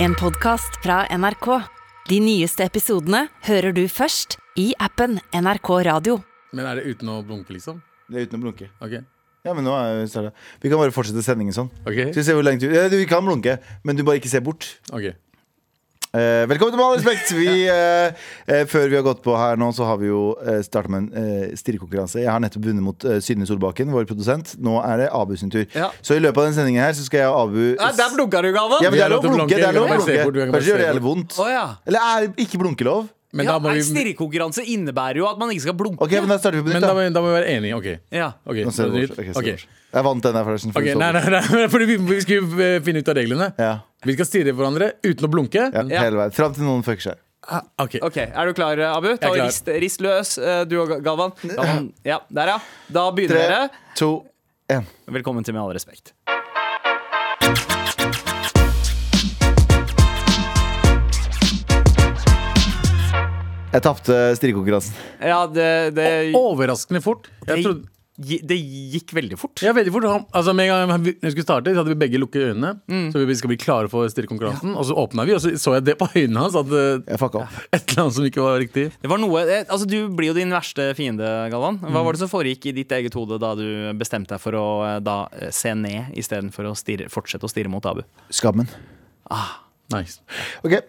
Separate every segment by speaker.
Speaker 1: En podcast fra NRK. De nyeste episodene hører du først i appen NRK Radio.
Speaker 2: Men er det uten å blunke, liksom?
Speaker 3: Det er uten å blunke.
Speaker 2: Ok,
Speaker 3: Ja, men nå er vi startet. Vi kan bare fortsette sendingen sånn.
Speaker 2: ok,
Speaker 3: Skal vi se hvor lenge du, ja, du kan blunke, men du bare ikke ser bort.
Speaker 2: ok
Speaker 3: Eh, velkommen til Med all respekt! Vi, eh, eh, før vi har gått på her nå, så har vi jo eh, starta med en eh, stirrekonkurranse. Jeg har nettopp vunnet mot eh, Synne Solbakken, vår produsent. Nå er det Abu sin tur.
Speaker 2: Ja.
Speaker 3: Så i løpet av den sendingen her så skal jeg og Abu
Speaker 4: Nei, der blunka du, Galvan!
Speaker 3: Ja, men
Speaker 2: Vi
Speaker 3: det
Speaker 2: har
Speaker 3: er lov å
Speaker 2: lov til å
Speaker 3: blunke.
Speaker 2: blunke,
Speaker 3: Det er
Speaker 2: vi
Speaker 3: lov å
Speaker 2: kan bare se
Speaker 3: blunke.
Speaker 2: bort, vi kan bare
Speaker 3: Kanskje gjør
Speaker 2: se
Speaker 3: det jævlig
Speaker 2: bort.
Speaker 3: vondt.
Speaker 4: Å, ja.
Speaker 3: Eller er ikke blunkelov?
Speaker 2: Men,
Speaker 4: ja,
Speaker 2: da, må
Speaker 4: nei,
Speaker 2: vi,
Speaker 4: Stirrekonkurranse innebærer jo at man ikke skal blunke.
Speaker 3: Ok, men da starter vi på
Speaker 2: men
Speaker 3: nytt,
Speaker 2: da,
Speaker 3: da.
Speaker 2: må, da må vi være enige. Ok.
Speaker 4: Ja.
Speaker 2: Ok,
Speaker 3: Nå
Speaker 2: så
Speaker 3: ser det
Speaker 2: det-
Speaker 3: bort. Ok, ser det
Speaker 2: ok.
Speaker 3: bort. Jeg vant den der, forresten. for
Speaker 2: Ok,
Speaker 3: det så
Speaker 2: Nei,
Speaker 3: bort.
Speaker 2: nei, nei, fordi vi, vi skulle eh, finne ut av reglene.
Speaker 3: Ja.
Speaker 2: Vi skal stirre hverandre uten å blunke.
Speaker 3: Ja,
Speaker 4: Ja.
Speaker 3: hele veien. Fram til noen fucker seg.
Speaker 2: Ah, ok.
Speaker 4: Ok, Er du klar, Abu?
Speaker 2: Jeg er
Speaker 4: Ta og
Speaker 2: klar.
Speaker 4: rist, rist løs, eh, du og Ga- Galvan. Galvan. Ja, der, ja. Da begynner
Speaker 3: Tre,
Speaker 4: dere.
Speaker 3: to, én.
Speaker 4: Velkommen til Med all respekt.
Speaker 3: Jeg tapte stirrekonkurransen.
Speaker 4: Ja, det, det,
Speaker 2: Overraskende fort. Jeg
Speaker 4: det,
Speaker 2: trodde
Speaker 4: gi- det gikk veldig fort.
Speaker 2: ja, veldig fort. Han- Altså, med en gang vi når vi skulle starte, så hadde vi begge lukket øynene.
Speaker 4: Mm.
Speaker 2: Så vi skal bli klare for stirrekonkurransen. Og så åpna vi, og så så jeg det på øynene hans. At eh,
Speaker 3: Jeg fucka opp.
Speaker 2: et eller annet som ikke var riktig.
Speaker 4: Det var noe, eh, altså Du blir jo din verste fiende, Galvan.
Speaker 2: Mm.
Speaker 4: Hva var det som foregikk i ditt eget hode da du bestemte deg for å eh, da, eh, se ned istedenfor å stirre, fortsette å stirre mot Abu?
Speaker 3: Skammen.
Speaker 2: Nice.
Speaker 3: Ok, eh,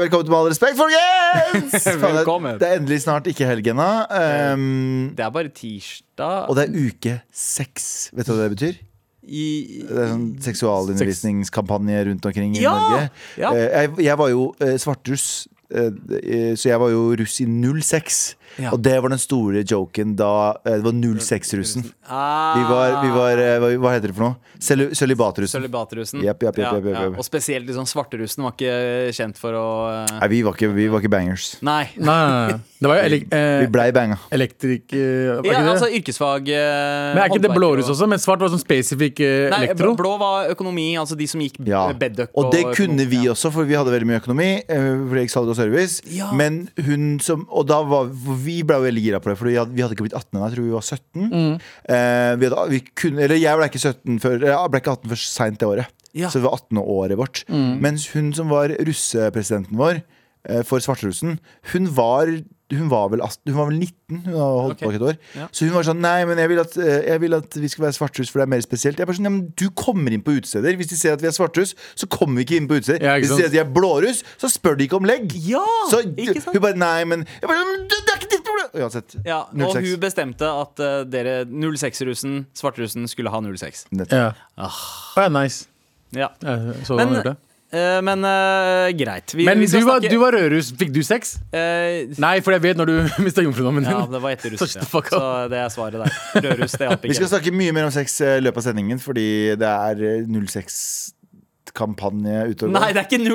Speaker 3: Velkommen til Med all respekt, folkens! Faen, det-
Speaker 4: Velkommen. Eh.
Speaker 3: Det er endelig snart ikke helg ennå. ehm,
Speaker 4: Det er bare tirsdag
Speaker 3: og det er uke seks. Vet du hva det betyr?
Speaker 4: i
Speaker 3: Det er sånn seksualundervisningskampanje rundt omkring i
Speaker 4: Ja!
Speaker 3: Norge.
Speaker 4: Ja.
Speaker 3: Eh, jeg, jeg var jo eh, svartruss. eh, eh, Så jeg var jo russ i 06,
Speaker 4: Ja.
Speaker 3: og det var den store joken da eh, Det var 06-russen.
Speaker 4: ah.
Speaker 3: Vi var, vi var eh, hva, hva heter det for noe? Celu- Sølibatrussen.
Speaker 4: Sølibatrussen.
Speaker 3: Japp, japp, japp, japp, japp, japp.
Speaker 4: Og spesielt liksom svarterussen var ikke kjent for å eh,
Speaker 3: Nei, vi var ikke, vi var ikke bangers.
Speaker 4: Nei.
Speaker 2: Nei, nei, nei. Det var jo elek eh,
Speaker 3: Vi blei banga.
Speaker 2: elektrik... eh, var ikke
Speaker 4: Ja,
Speaker 2: det?
Speaker 4: altså yrkesfag eh,
Speaker 2: Men er ikke det
Speaker 4: håndverker
Speaker 2: blåruss
Speaker 4: og-
Speaker 2: også? Men svart var sånn spesifikk eh,
Speaker 4: Nei,
Speaker 2: elektro.
Speaker 4: blå var økonomi, altså de som gikk
Speaker 3: Ja.
Speaker 4: eh, bedøk
Speaker 3: Og det kunne
Speaker 4: økonom-
Speaker 3: vi
Speaker 4: ja.
Speaker 3: også, for vi hadde veldig mye økonomi. eh, Fordi jeg salg og service
Speaker 4: Ja.
Speaker 3: Men hun som Og da var vi ble jo veldig gira på det, for vi hadde, vi hadde ikke blitt 18 ennå. Jeg tror vi var 17.
Speaker 4: Mm.
Speaker 3: Eh, vi hadde, vi kunne, eller jeg ble ikke 17 før eller Jeg ble ikke 18 før seint det året.
Speaker 4: Ja. Mm.
Speaker 3: Så det var 18-året vårt. Mens hun som var russepresidenten vår eh, for svarterussen, hun var hun var, vel, ast- hun var vel 19, hun har holdt på
Speaker 4: Ok.
Speaker 3: ikke et år.
Speaker 4: Ja.
Speaker 3: Så hun var sånn Nei, men jeg vil at, eh, jeg vil at vi skal være svarthus, for det er mer spesielt. Jeg er bare sånn, ja, men Du kommer inn på utesteder. Hvis de ser at vi er svarthus, så kommer vi ikke inn på utesteder.
Speaker 2: Ja, ikke
Speaker 3: Hvis de
Speaker 2: sant?
Speaker 3: ser at de er blåruss, så spør de ikke om legg.
Speaker 4: Ja!
Speaker 3: så
Speaker 4: ikke sant?
Speaker 3: hun bare Nei, men jeg bare, men det, det er ikke ditt problem! Uansett.
Speaker 4: Ja, og
Speaker 3: 06.
Speaker 4: hun bestemte at eh, dere 06-russen, svarterussen, skulle ha 06.
Speaker 2: Ja.
Speaker 3: Ah.
Speaker 2: Å, ja, nice.
Speaker 4: Ja.
Speaker 2: Jeg så
Speaker 4: Men,
Speaker 2: han gjorde det.
Speaker 4: eh, men eh, greit. Vi,
Speaker 2: Men
Speaker 4: vi
Speaker 2: du
Speaker 4: skal
Speaker 2: var,
Speaker 4: snakke
Speaker 2: du var rødruss. Fikk du sex?
Speaker 4: eh,
Speaker 2: Nei, for jeg vet når du mista jomfrudommen
Speaker 4: Ja,
Speaker 2: din.
Speaker 4: det var etter
Speaker 2: Så
Speaker 4: russen.
Speaker 2: shut
Speaker 4: Ja.
Speaker 2: the fuck
Speaker 4: Så
Speaker 2: up.
Speaker 4: det er svaret der. Rødruss, det hjalp
Speaker 3: Vi skal
Speaker 4: ikke.
Speaker 3: snakke mye mer om sex eh, i løpet av sendingen, fordi det er eh, 06-kampanje ute og
Speaker 4: Nei, det er ikke 06.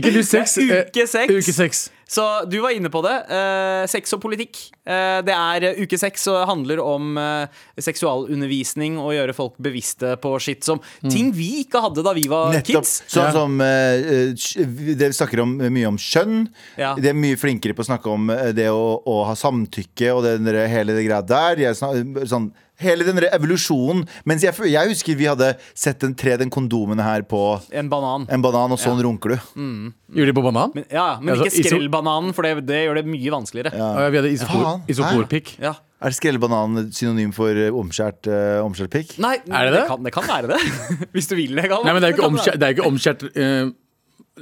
Speaker 2: Ikke du sex?
Speaker 4: Det
Speaker 2: eh,
Speaker 4: er Uke seks.
Speaker 2: Uke seks.
Speaker 4: Så du var inne på det. Eh, sex og politikk. Eh, det er eh, uke seks og handler om eh, seksualundervisning og gjøre folk bevisste på shit som
Speaker 2: Mm.
Speaker 4: ting vi ikke hadde da vi var
Speaker 3: Nettopp.
Speaker 4: kids.
Speaker 3: Sånn
Speaker 2: Ja.
Speaker 3: som eh, eh, sk- Det vi snakker om, eh, mye om kjønn.
Speaker 4: Ja.
Speaker 3: De er mye flinkere på å snakke om eh, det å, å ha samtykke og den der, hele det greia der. Jeg snak, sånn, hele den der evolusjonen. Mens jeg, jeg husker vi hadde sett den tre den kondomen her på
Speaker 4: En banan.
Speaker 3: en banan, og sånn runker du.
Speaker 2: Gjorde de på banan?
Speaker 4: Men, ja, men
Speaker 2: Altså,
Speaker 4: ikke
Speaker 2: iso-
Speaker 4: skrell bananen, for det, det gjør det mye vanskeligere. Ja.
Speaker 2: Å, ja, vi hadde isopor,
Speaker 3: Faen.
Speaker 2: isoporpikk.
Speaker 3: Er skrellebanan synonym for eh, omskjært eh, omskjært pikk?
Speaker 4: Nei,
Speaker 2: Er det det?
Speaker 4: kan, det kan være det. Hvis du vil det. Kan,
Speaker 2: Nei, men det er jo ikke
Speaker 4: kan
Speaker 2: omskjært,
Speaker 4: være.
Speaker 2: det er jo ikke omskjært eh,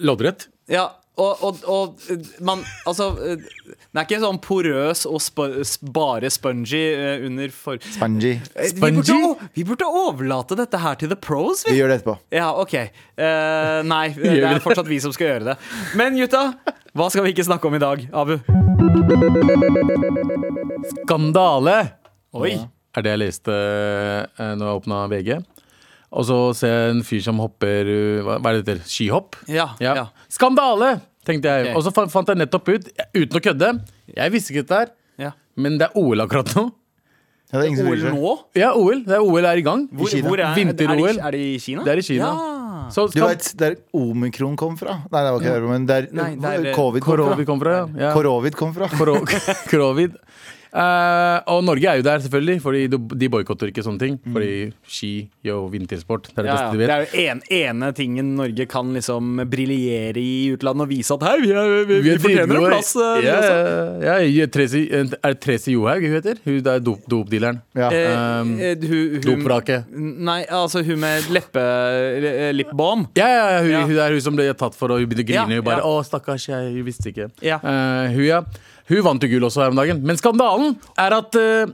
Speaker 2: loddrett.
Speaker 4: Ja, og, og, og eh, man Altså, eh, den er ikke sånn porøs og sp bare spongy eh, under for...
Speaker 3: Panji.
Speaker 4: Eh, Vi
Speaker 2: Spongy?
Speaker 4: burde, o- vi burde overlate dette her til the pros,
Speaker 3: Vi
Speaker 4: vi.
Speaker 3: gjør det etterpå.
Speaker 4: Ja, OK. Eh, nei, det
Speaker 2: vi
Speaker 4: er
Speaker 2: det?
Speaker 4: fortsatt vi som skal gjøre det. Men gutta, hva skal vi ikke snakke om i dag, Abu?
Speaker 2: Skandale!
Speaker 4: Oi.
Speaker 2: er det jeg leste eh, når jeg åpna VG. Og så ser jeg en fyr som hopper eh, Hva hva er det det heter? Skihopp?
Speaker 4: Ja,
Speaker 2: Ja.
Speaker 4: ja.
Speaker 2: Skandale! tenkte jeg.
Speaker 4: Ok.
Speaker 2: Og så fa- fant jeg nettopp ut, uten å kødde Jeg visste ikke dette her,
Speaker 4: Ja.
Speaker 2: men det er OL akkurat nå.
Speaker 3: Ja, det er ingen som
Speaker 4: OL
Speaker 3: bryr seg.
Speaker 4: nå?
Speaker 2: Ja, OL. Det er OL er i gang.
Speaker 4: Hvor,
Speaker 3: Kina.
Speaker 4: hvor er, er, det,
Speaker 2: Vinter-OL.
Speaker 4: i- er det i Kina?
Speaker 2: Det er i Kina.
Speaker 4: Ja.
Speaker 2: Så
Speaker 3: Du
Speaker 2: skal,
Speaker 3: veit der omikron kom fra? Nei, det var ikke det, men der
Speaker 4: Nei, der, eh,
Speaker 3: covid kom
Speaker 2: Korovid
Speaker 3: fra.
Speaker 2: kom fra, ja.
Speaker 3: Korovid kom fra.
Speaker 2: Koro- Korovid. Eh, og Norge er jo der, selvfølgelig, Fordi de, de boikotter ikke sånne ting. Fordi ski og vintersport det er det
Speaker 4: Mm. Ja,
Speaker 2: beste
Speaker 4: ja.
Speaker 2: de
Speaker 4: Det
Speaker 2: vet.
Speaker 4: er jo en, ene tingen Norge kan liksom briljere i utlandet og vise at hei, vi, er, vi, vi, fortjener en
Speaker 2: dritgode.
Speaker 4: plass. eh, vi
Speaker 2: Ja,
Speaker 4: også.
Speaker 2: ja, ja, Tracy- eh, Er det Tracy Johaug hun heter? Hun der dop- dopdealeren.
Speaker 3: Ja.
Speaker 4: Eh,
Speaker 2: Um,
Speaker 4: eh, hun- hun-
Speaker 2: Dopraket.
Speaker 4: Nei, altså hun med leppe... eh, lip balm.
Speaker 2: Ja, ja, ja, hun, hun
Speaker 4: Ja.
Speaker 2: er hun som ble tatt for, og hun begynte å
Speaker 4: Ja,
Speaker 2: grine. hun bare,
Speaker 4: ja.
Speaker 2: å stakkars, jeg visste ikke
Speaker 4: Ja.
Speaker 2: Eh, hun, ja. hun vant jo gull også her om dagen. Men skandalen er at eh,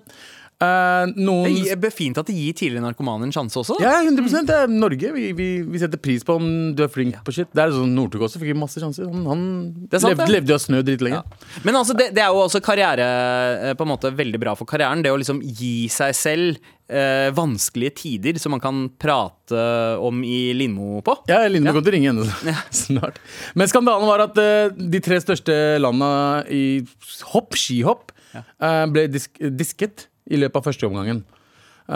Speaker 2: eh, noen
Speaker 4: Det er Fint at de gir tidligere narkomane en sjanse også. da.
Speaker 2: ja, 100 Det er Norge. Vi, vi, vi setter pris på om du er flink på shit. Det er sånn Northug også fikk masse sjanser. Han, han
Speaker 4: er sant,
Speaker 2: levde,
Speaker 4: det.
Speaker 2: levde jo av snø dritlenge.
Speaker 4: Men altså, det, det er jo også karriere eh, På en måte veldig bra for karrieren. Det å liksom gi seg selv eh, vanskelige tider som man kan prate om i Lindmo på.
Speaker 2: Ja, Lindmo kommer til å ringe henne snart. Men skandalen var at eh, de tre største landa i hopp, skihopp, eh, ble disk disket i løpet av første omgangen.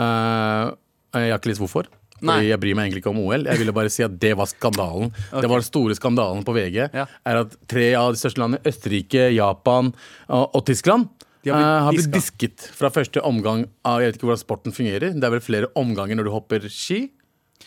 Speaker 2: Eh, jeg har ikke lest hvorfor.
Speaker 4: Nei.
Speaker 2: Fordi jeg bryr meg egentlig ikke om OL. Jeg ville bare si at det var skandalen. Det var den store skandalen på VG.
Speaker 4: Ja.
Speaker 2: Er at tre av de største landene, Østerrike, Japan og og Tyskland,
Speaker 4: De har blitt
Speaker 2: eh, har blitt disket fra første omgang av Jeg vet ikke hvordan sporten fungerer. Det er vel flere omganger når du hopper ski.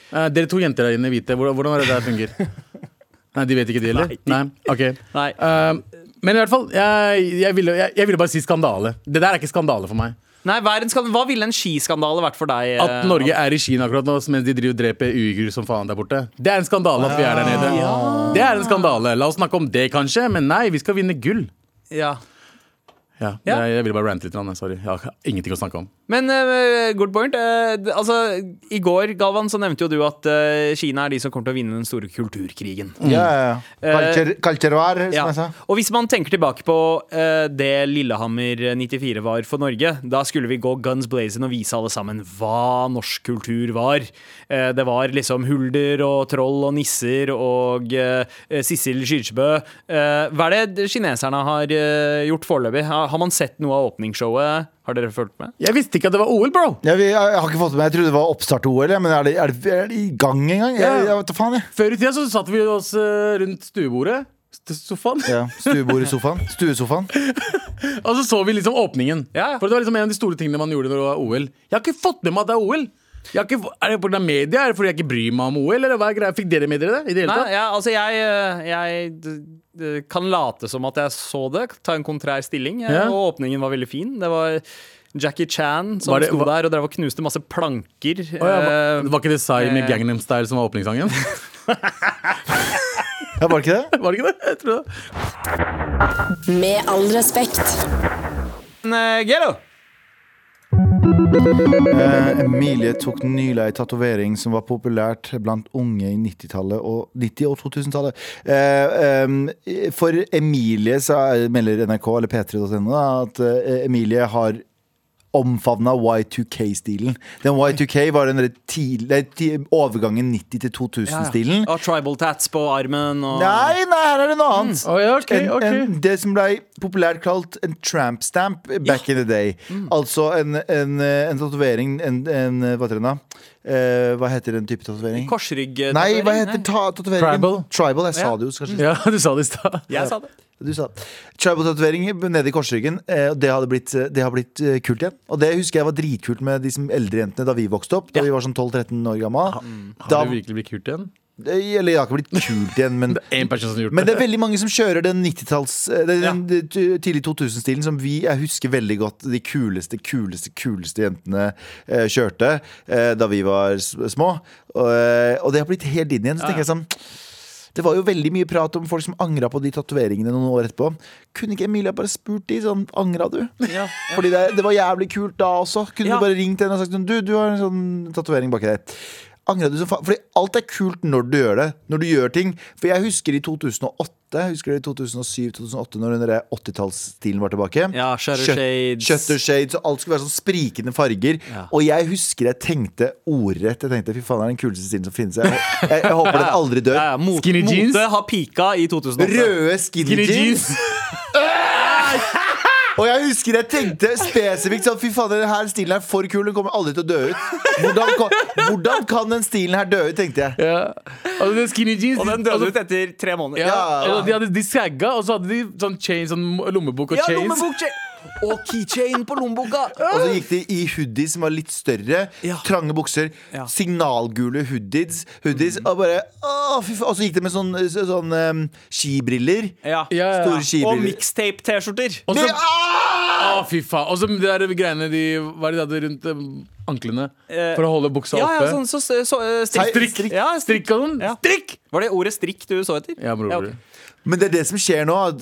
Speaker 2: Eh, dere to jenter der inne vite hvordan, hvordan er det der fungerer. Nei, de vet ikke de heller? Nei, ok
Speaker 4: Nei.
Speaker 2: Eh, Men i hvert fall, jeg, jeg, ville, jeg, jeg ville bare si skandale. Det der er ikke skandale for meg.
Speaker 4: Nei, hva, er en skand- hva ville en skiskandale vært for deg? eh,
Speaker 2: At Norge er i Kina akkurat nå mens de driver og dreper uigurer som faen der borte. Det er en skandale at vi er der nede.
Speaker 4: Ah,
Speaker 2: Det er en skandale. La oss snakke om det, kanskje, men nei, vi skal vinne gull.
Speaker 4: Ja.
Speaker 2: Ja, det,
Speaker 4: Ja.
Speaker 2: Jeg ville bare rante litt. grann, Sorry. Jeg har ingenting å snakke om.
Speaker 4: Men eh, good point. Eh, d- altså, I går Galvan, så nevnte jo du at eh, Kina er de som kommer til å vinne den store kulturkrigen.
Speaker 3: Ja, ja, ja. Kalcher, kalcheroar, som
Speaker 4: Ja.
Speaker 3: jeg sa.
Speaker 4: Og hvis man tenker tilbake på eh, det Lillehammer 94 var for Norge, da skulle vi gå guns blazing og vise alle sammen hva norsk kultur var. Eh, det var liksom hulder og troll og nisser og eh, Sissel Kyrkjebø. Eh, hva er det kineserne har eh, gjort foreløpig? Har, har man sett noe av åpningsshowet? Har dere fulgt med?
Speaker 2: Jeg visste ikke at det var OL, bro!
Speaker 3: Ja, vi, jeg, jeg har ikke fått det med Jeg trodde det var oppstart til OL, ja, men er det, er, det, er det i gang engang? Jeg,
Speaker 2: Ja.
Speaker 3: jeg vet da faen, jeg.
Speaker 2: Før i tida så satt vi oss eh, rundt stuebordet. st- Sofaen.
Speaker 3: Ja, Stuebord i sofaen. Stuesofaen.
Speaker 2: Og så så vi liksom åpningen.
Speaker 4: Ja, ja.
Speaker 2: For det var liksom en av de store tingene man gjorde når det var OL. Jeg har ikke fått med meg at det er OL! Jeg har ikke, få- er det pga. media? Er det fordi jeg ikke bryr meg om OL? Eller hva er greia? Fikk dere med dere det? I det hele
Speaker 4: Nei,
Speaker 2: tatt?
Speaker 4: ja, altså jeg, eh, jeg d- d- kan late som at jeg så det, ta en kontrær stilling, eh,
Speaker 2: Ja.
Speaker 4: og åpningen var veldig fin. Det var Jackie Chan som
Speaker 2: Var det-
Speaker 4: sto
Speaker 2: var-
Speaker 4: der og drev og knuste masse planker.
Speaker 2: Å ja, var,
Speaker 4: eh,
Speaker 2: var ikke det Psy med
Speaker 4: eh.
Speaker 2: Gangnam Style som var åpningssangen?
Speaker 3: Ja, var det ikke det?
Speaker 2: Var det ikke det? Jeg tror det.
Speaker 5: Med all respekt.
Speaker 4: Men, eh, Gero,
Speaker 3: Eh, Emilie tok nylig ei tatovering som var populært blant unge i 90-tallet og 90- og 2000-tallet. Eh, eh, for Emilie så er, melder NRK eller p3.no da, at eh, Emilie har omfavna Y2K-stilen. Den Y2K var den der tidlig, nei, ti- overgangen 90- til 2000-stilen.
Speaker 4: og tribal tats på armen og
Speaker 3: Nei, nei, her er det noe annet.
Speaker 2: Å ja, ok,
Speaker 3: en,
Speaker 2: ok.
Speaker 3: en, det som ble populært kalt en tramp stamp back in the day. Altså en, en, en tatovering en, en, Hva heter den, da? Eh, hva heter den type tatovering?
Speaker 4: korsrygg. eh,
Speaker 3: Nei, hva heter ta- tatoveringen?
Speaker 2: Tribal.
Speaker 3: Tribal, Jeg sa
Speaker 4: Ja.
Speaker 3: det jo, så kanskje.
Speaker 2: Ja, Mm. du sa det i stad.
Speaker 4: Jeg sa det.
Speaker 3: Du sa det. Tribal-tatovering nede i korsryggen. eh, og Det, hadde blitt, eh, det har blitt eh, kult igjen. Og det husker jeg var dritkult med de som eldre jentene da vi vokste opp. Da vi var sånn 12-13 år gamle. Da, eh,
Speaker 2: Har det virkelig blitt kult igjen?
Speaker 3: eller det har ikke blitt kult igjen, men
Speaker 2: Én person som har gjort
Speaker 3: Men
Speaker 2: det.
Speaker 3: det er veldig mange som kjører den 90-talls eh, Den,
Speaker 4: Ja.
Speaker 3: den ty- tidlig 2000-stilen som vi Jeg husker veldig godt de kuleste, kuleste, kuleste jentene eh, kjørte eh, da vi var s- små. Og, eh, og det har blitt helt inn igjen. Så tenker jeg sånn det var jo veldig mye prat om folk som angra på de tatoveringene noen år etterpå. Kunne ikke Emilia bare spurt de sånn Angra du?
Speaker 4: Ja.
Speaker 3: Fordi det, det var jævlig kult da også. Kunne
Speaker 4: Ja.
Speaker 3: du bare ringt henne og sagt sånn, Du, du har en sånn tatovering baki der. Angra du som faen? Fordi alt er kult når du gjør det. Når du gjør ting. For jeg husker i 2008, husker du i 2007-2008, når den der 80-tallsstilen var tilbake.
Speaker 4: Ja, shutter shades.
Speaker 3: Shutter shades, og alt skulle være sånn sprikende farger.
Speaker 4: Ja.
Speaker 3: Og jeg husker jeg tenkte ordrett. Jeg tenkte fy faen, det er den kuleste stilen som finnes. Jeg, hå- jeg, jeg håper den aldri dør.
Speaker 4: Ja, ja, mot,
Speaker 2: Skinny jeans.
Speaker 4: Mote har pika i 2008.
Speaker 3: Røde skinny,
Speaker 2: Skinny
Speaker 3: jeans.
Speaker 2: jeans.
Speaker 3: Og jeg husker jeg tenkte spesifikt sånn Fy faen, den her stilen er for kul, den kommer aldri til å dø ut. Hvordan kan, hvordan kan den stilen her dø ut, tenkte jeg.
Speaker 2: Ja. Altså, det er skinny jeans.
Speaker 4: Og den
Speaker 2: altså,
Speaker 4: døde ut etter tre måneder.
Speaker 2: ja,
Speaker 3: Ja.
Speaker 2: altså, de, hadde, de sagga, og så hadde de sånn chain, sånn lommebok og
Speaker 4: Ja,
Speaker 2: chains.
Speaker 4: lommebok, og keychain på lommeboka!
Speaker 3: Og så gikk de i hoodies som var litt større.
Speaker 4: Ja.
Speaker 3: Trange bukser.
Speaker 4: Ja.
Speaker 3: Signalgule hoodies. hoodies Og bare å, fy faen. Og så gikk de med sånn, så- sånn em, skibriller.
Speaker 4: Ja.
Speaker 2: Ja, ja.
Speaker 3: Store
Speaker 4: Og
Speaker 3: skibriller.
Speaker 4: mixtape-T-skjorter.
Speaker 2: Og
Speaker 3: Det-
Speaker 2: så,
Speaker 3: ah!
Speaker 2: å, fy faen. Og så de der greiene de Hva er det de hadde rundt eh, anklene?
Speaker 4: Eh,
Speaker 2: For å holde buksa
Speaker 4: Ja, ja,
Speaker 2: oppe?
Speaker 4: sånn så, så, så eh, strikk.
Speaker 3: Strikk.
Speaker 4: Ja, strikk.
Speaker 2: Strikk og sånn?
Speaker 4: Ja. strikk! Var det ordet strikk du så etter?
Speaker 2: Ja, bror.
Speaker 4: ok.
Speaker 3: Men det er det som skjer nå. At,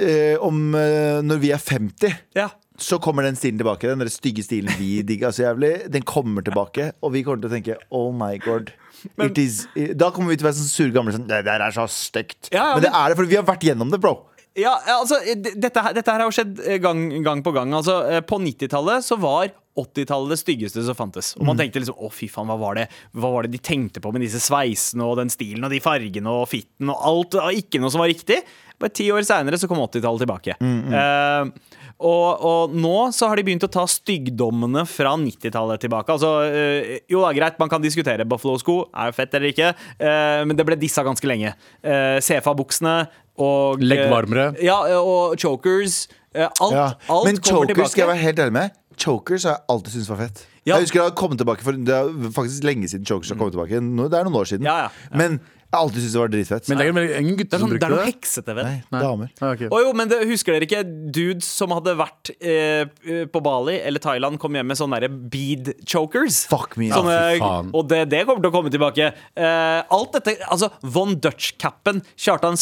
Speaker 3: eh, eh, om, eh, når vi er 50,
Speaker 4: Ja.
Speaker 3: så kommer den stilen tilbake. Den der stygge stilen vi digga så jævlig, den kommer tilbake. Og vi kommer til å tenke oh my god. it is, da kommer vi til å være sånn sure gamle sånn Det der er så stygt.
Speaker 4: Ja, ja,
Speaker 3: men, det
Speaker 4: men-
Speaker 3: er det, for vi har vært gjennom det, bro.
Speaker 4: Ja, altså, d- dette, her- dette her har jo skjedd eh, gang, gang på gang. Altså, eh, på 90-tallet så var 80-tallet det styggeste som fantes. Og man tenkte liksom, å fy faen, hva var, det? hva var det de tenkte på med disse sveisene og den stilen og de fargene og fitten og alt? Det var ikke noe som var riktig. Bare ti år seinere så kom 80-tallet tilbake. Eh, og, og nå så har de begynt å ta styggdommene fra 90-tallet tilbake. Altså, eh, jo da, greit, man kan diskutere Buffalo-sko, er det fett eller ikke? Eh, men det ble dissa ganske lenge. Eh, Sefa-buksene og og,
Speaker 2: Leggvarmere.
Speaker 4: Eh, Ja, og chokers. eh, Alt,
Speaker 3: Ja.
Speaker 4: alt
Speaker 3: Men
Speaker 4: kommer
Speaker 3: chokers skal jeg
Speaker 4: tilbake.
Speaker 3: være helt ærlig med. Chokers har jeg alltid syntes var fett.
Speaker 4: Ja. Mm.
Speaker 3: Jeg husker Det har kommet tilbake for, Det er faktisk lenge siden chokers har kommet tilbake. Nå- Det er noen år siden.
Speaker 4: Ja, ja, ja.
Speaker 3: Men jeg har alltid syntes det var dritfett.
Speaker 2: Men det er vel ingen
Speaker 4: Det
Speaker 2: gutter
Speaker 4: er,
Speaker 2: som
Speaker 4: sånn, det er
Speaker 2: brukte
Speaker 4: noe
Speaker 2: det?
Speaker 4: heksete ved det.
Speaker 3: Nei, damer.
Speaker 2: Ah, ok.
Speaker 4: Å jo, men det, Husker dere ikke dudes som hadde vært eh, eh, på Bali eller Thailand, kom hjem med sånne derre bead chokers?
Speaker 3: Fuck me,
Speaker 4: Sånne,
Speaker 2: ja, fy faen.
Speaker 4: og det, det kommer til å komme tilbake. Eh, alt dette, altså Von Dutch-cappen, Kjartan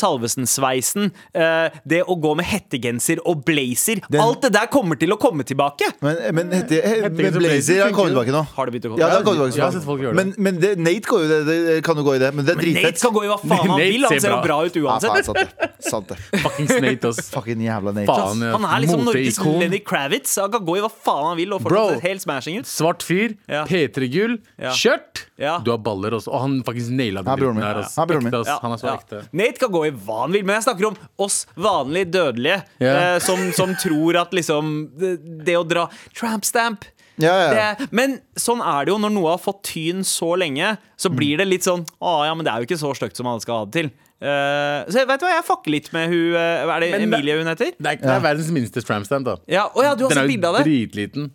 Speaker 4: Salvesen-sveisen, eh, det å gå med hettegenser og blazer Alt det der kommer til å komme tilbake!
Speaker 3: Men, men, hette, he, men
Speaker 2: som
Speaker 3: Blazer har
Speaker 2: Blazer
Speaker 3: kommet tilbake nå.
Speaker 4: Har det begynt å komme?
Speaker 3: Ja, det har kommet tilbake
Speaker 2: Jeg har sett folk gjøre det.
Speaker 3: Men, men det, Nate går jo i det, det kan jo gå i det, men det er
Speaker 4: Nate
Speaker 3: dritfett.
Speaker 4: skal gå i hva faen han
Speaker 2: Nate
Speaker 4: vil, han
Speaker 2: ser
Speaker 4: ser jo
Speaker 2: bra.
Speaker 4: bra ut
Speaker 3: Ja,
Speaker 4: uansett.
Speaker 3: faen, sant det. Sant det.
Speaker 2: Fucking Snate, ass.
Speaker 3: Fucking jævla Nate.
Speaker 2: Faen,
Speaker 3: ass.
Speaker 2: ja.
Speaker 4: Han er liksom Norges
Speaker 2: Moteikon.
Speaker 4: Lenny Kravitz. Han kan gå i hva faen han vil og
Speaker 2: Bro.
Speaker 4: fortsatt se helt smashing ut.
Speaker 2: Svart fyr,
Speaker 4: Ja.
Speaker 2: P3-gull,
Speaker 4: Ja.
Speaker 2: skjørt.
Speaker 4: Ja.
Speaker 2: Du har baller også. Og han faktisk naila
Speaker 3: Han
Speaker 2: den
Speaker 3: er broren
Speaker 2: dritten
Speaker 3: min.
Speaker 2: der. ass.
Speaker 3: Han er broren min.
Speaker 2: Ekte, ass.
Speaker 4: Ja,
Speaker 2: Han er så
Speaker 4: ja.
Speaker 2: ekte.
Speaker 4: Nate kan gå i hva han vil, men jeg snakker om oss vanlige dødelige
Speaker 2: Ja.
Speaker 4: eh, som, som tror at liksom det, det å dra tramp stamp
Speaker 3: Ja, ja, ja.
Speaker 4: Det, men sånn er det jo når noe har fått tyn så lenge,
Speaker 2: Mm.
Speaker 4: så blir det litt sånn Å ja, men det er jo ikke så stygt som alle skal ha det til. Eh, så jeg vet du hva, jeg fucker litt med hun eh, Er det
Speaker 2: Men det-
Speaker 4: Emilie hun heter?
Speaker 2: Det er, det er verdens minste tramstamp, da.
Speaker 4: Ja, å ja, du har
Speaker 2: Den
Speaker 4: sett
Speaker 2: er
Speaker 4: bilde
Speaker 2: jo
Speaker 4: av det?
Speaker 2: dritliten.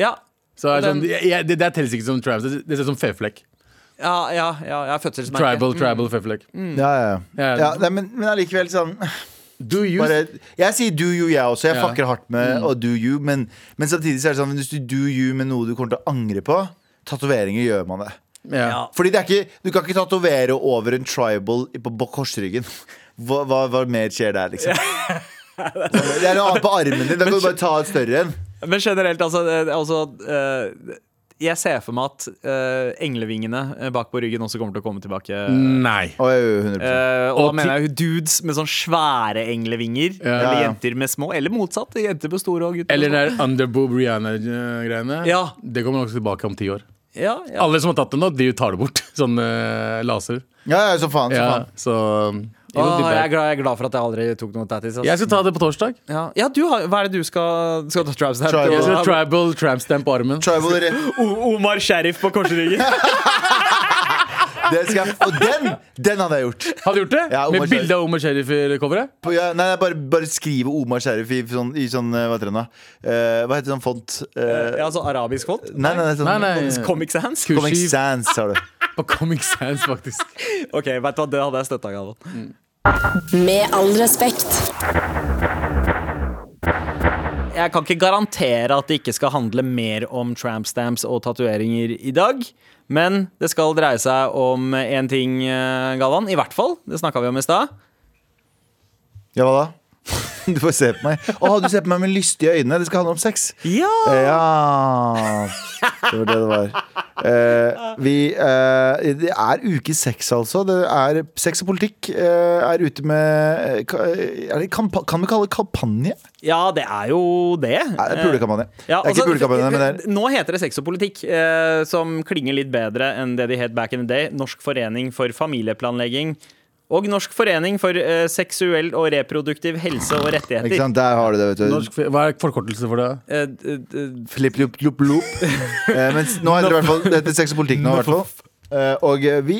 Speaker 4: Ja.
Speaker 2: Så er
Speaker 4: Den-
Speaker 2: sånn, jeg, jeg, det, det telles ikke som tramstamp. Det ser ut som feflekk.
Speaker 4: Ja, ja, ja, ja fødselsmerke.
Speaker 2: Tribal, tribal feflekk.
Speaker 3: Mm.
Speaker 4: Mm.
Speaker 3: Ja, ja, ja.
Speaker 2: Ja.
Speaker 3: ja nei, men, men allikevel sånn
Speaker 2: Do you
Speaker 3: bare, Jeg sier do you, jeg også. Jeg
Speaker 2: Ja.
Speaker 3: fucker hardt med å do you, men, men samtidig så er det sånn hvis du do you med noe du kommer til å angre på, tatoveringer gjør man det.
Speaker 2: ja.
Speaker 3: Fordi det er ikke, Du kan ikke tatovere over en tribal i- på på korsryggen. Hva, hva, hva mer skjer der, liksom? Det er noe annet på armen din. Da kan du bare ta et større en.
Speaker 4: Men generelt, altså, det- altså eh, Jeg ser for meg at eh, englevingene eh, bak på ryggen også kommer til å komme tilbake.
Speaker 2: Nei.
Speaker 3: Å, jo, jo, 100%.
Speaker 4: Eh, og da
Speaker 2: Mm. Og ti-
Speaker 4: mener jeg jo dudes med sånn svære englevinger.
Speaker 2: Ja.
Speaker 4: Eller
Speaker 3: Ja, ja.
Speaker 4: jenter med små. Eller motsatt. Jenter med store og gutter
Speaker 2: Eller
Speaker 4: med små.
Speaker 2: den der underboob Rihanna-greiene.
Speaker 4: Ja.
Speaker 2: Det kommer nok tilbake om ti år.
Speaker 4: Ja, ja.
Speaker 2: Alle som har tatt det nå, de tar det bort. Sånn eh, laser.
Speaker 3: Ja, ja, så faen. Så
Speaker 2: Ja,
Speaker 3: faen.
Speaker 2: så it will
Speaker 4: Åh,
Speaker 2: be
Speaker 4: jeg, er
Speaker 2: back.
Speaker 4: glad, jeg er glad for at jeg aldri tok noe tattis. ass.
Speaker 2: Jeg skal ta det på torsdag.
Speaker 4: Ja, ja du har, Hva er det du skal Skal du ta traps der?
Speaker 3: Tribal.
Speaker 2: Jeg skal ha tribal trampstamp på armen.
Speaker 3: Tribal rett.
Speaker 4: O- Omar Sheriff på korsryggen.
Speaker 3: Det skal jeg, og den den hadde jeg gjort.
Speaker 2: Har du gjort det?
Speaker 3: Ja, Omar
Speaker 2: Med bilde av Omar Sharif i coveret?
Speaker 3: På, ja, nei, nei, bare, bare skrive Omar Sheriff i sånn, i sånn eh, hva, heter den, da? Eh, hva heter sånn font? Eh,
Speaker 4: ja, altså arabisk font.
Speaker 3: nei, nei, nei, sånn,
Speaker 2: Nei, nei.
Speaker 4: Comic Sans.
Speaker 3: Comic
Speaker 2: Kursiv
Speaker 3: Sans, sa du.
Speaker 2: på Comic Sans, faktisk.
Speaker 4: Ok, vet du hva, Det hadde jeg støtta, Galvan.
Speaker 5: Med all respekt.
Speaker 4: Jeg kan ikke garantere at det ikke skal handle mer om tramp stamps og tatoveringer i dag. Men det skal dreie seg om én ting, eh, Galvan. I hvert fall. Det snakka vi om i stad.
Speaker 3: Ja, hva da? Du får se på meg. Å, du ser på meg med lystige øyne. Det skal handle om sex.
Speaker 4: Ja!
Speaker 3: Eh, Ja Det var det det var. Eh, vi, eh, det er uke seks, altså. Det er Sex og politikk eh, er ute med eh, ka- er det kampa Kan vi kalle det kampanje?
Speaker 4: Ja, det er jo det.
Speaker 3: Nei, det er Pulekampanje. det
Speaker 4: Ja,
Speaker 3: er
Speaker 4: altså,
Speaker 3: ikke pulekampanje, men Eh, det er
Speaker 4: Nå heter det Sex og politikk, eh, som klinger litt bedre enn det de het back in the day. Norsk forening for familieplanlegging. Og Norsk forening for eh, seksuell og reproduktiv helse og
Speaker 3: Ikke
Speaker 4: rettigheter.
Speaker 3: sant, Der har du det, vet du.
Speaker 2: Norsk, hva er forkortelse for det?
Speaker 4: Eh, d- d-
Speaker 3: Flipp, loop, loop, loop. Eh, men nå heter det i hvert fall Det heter sex og politikk nå, i hvert fall. Eh, og eh, vi,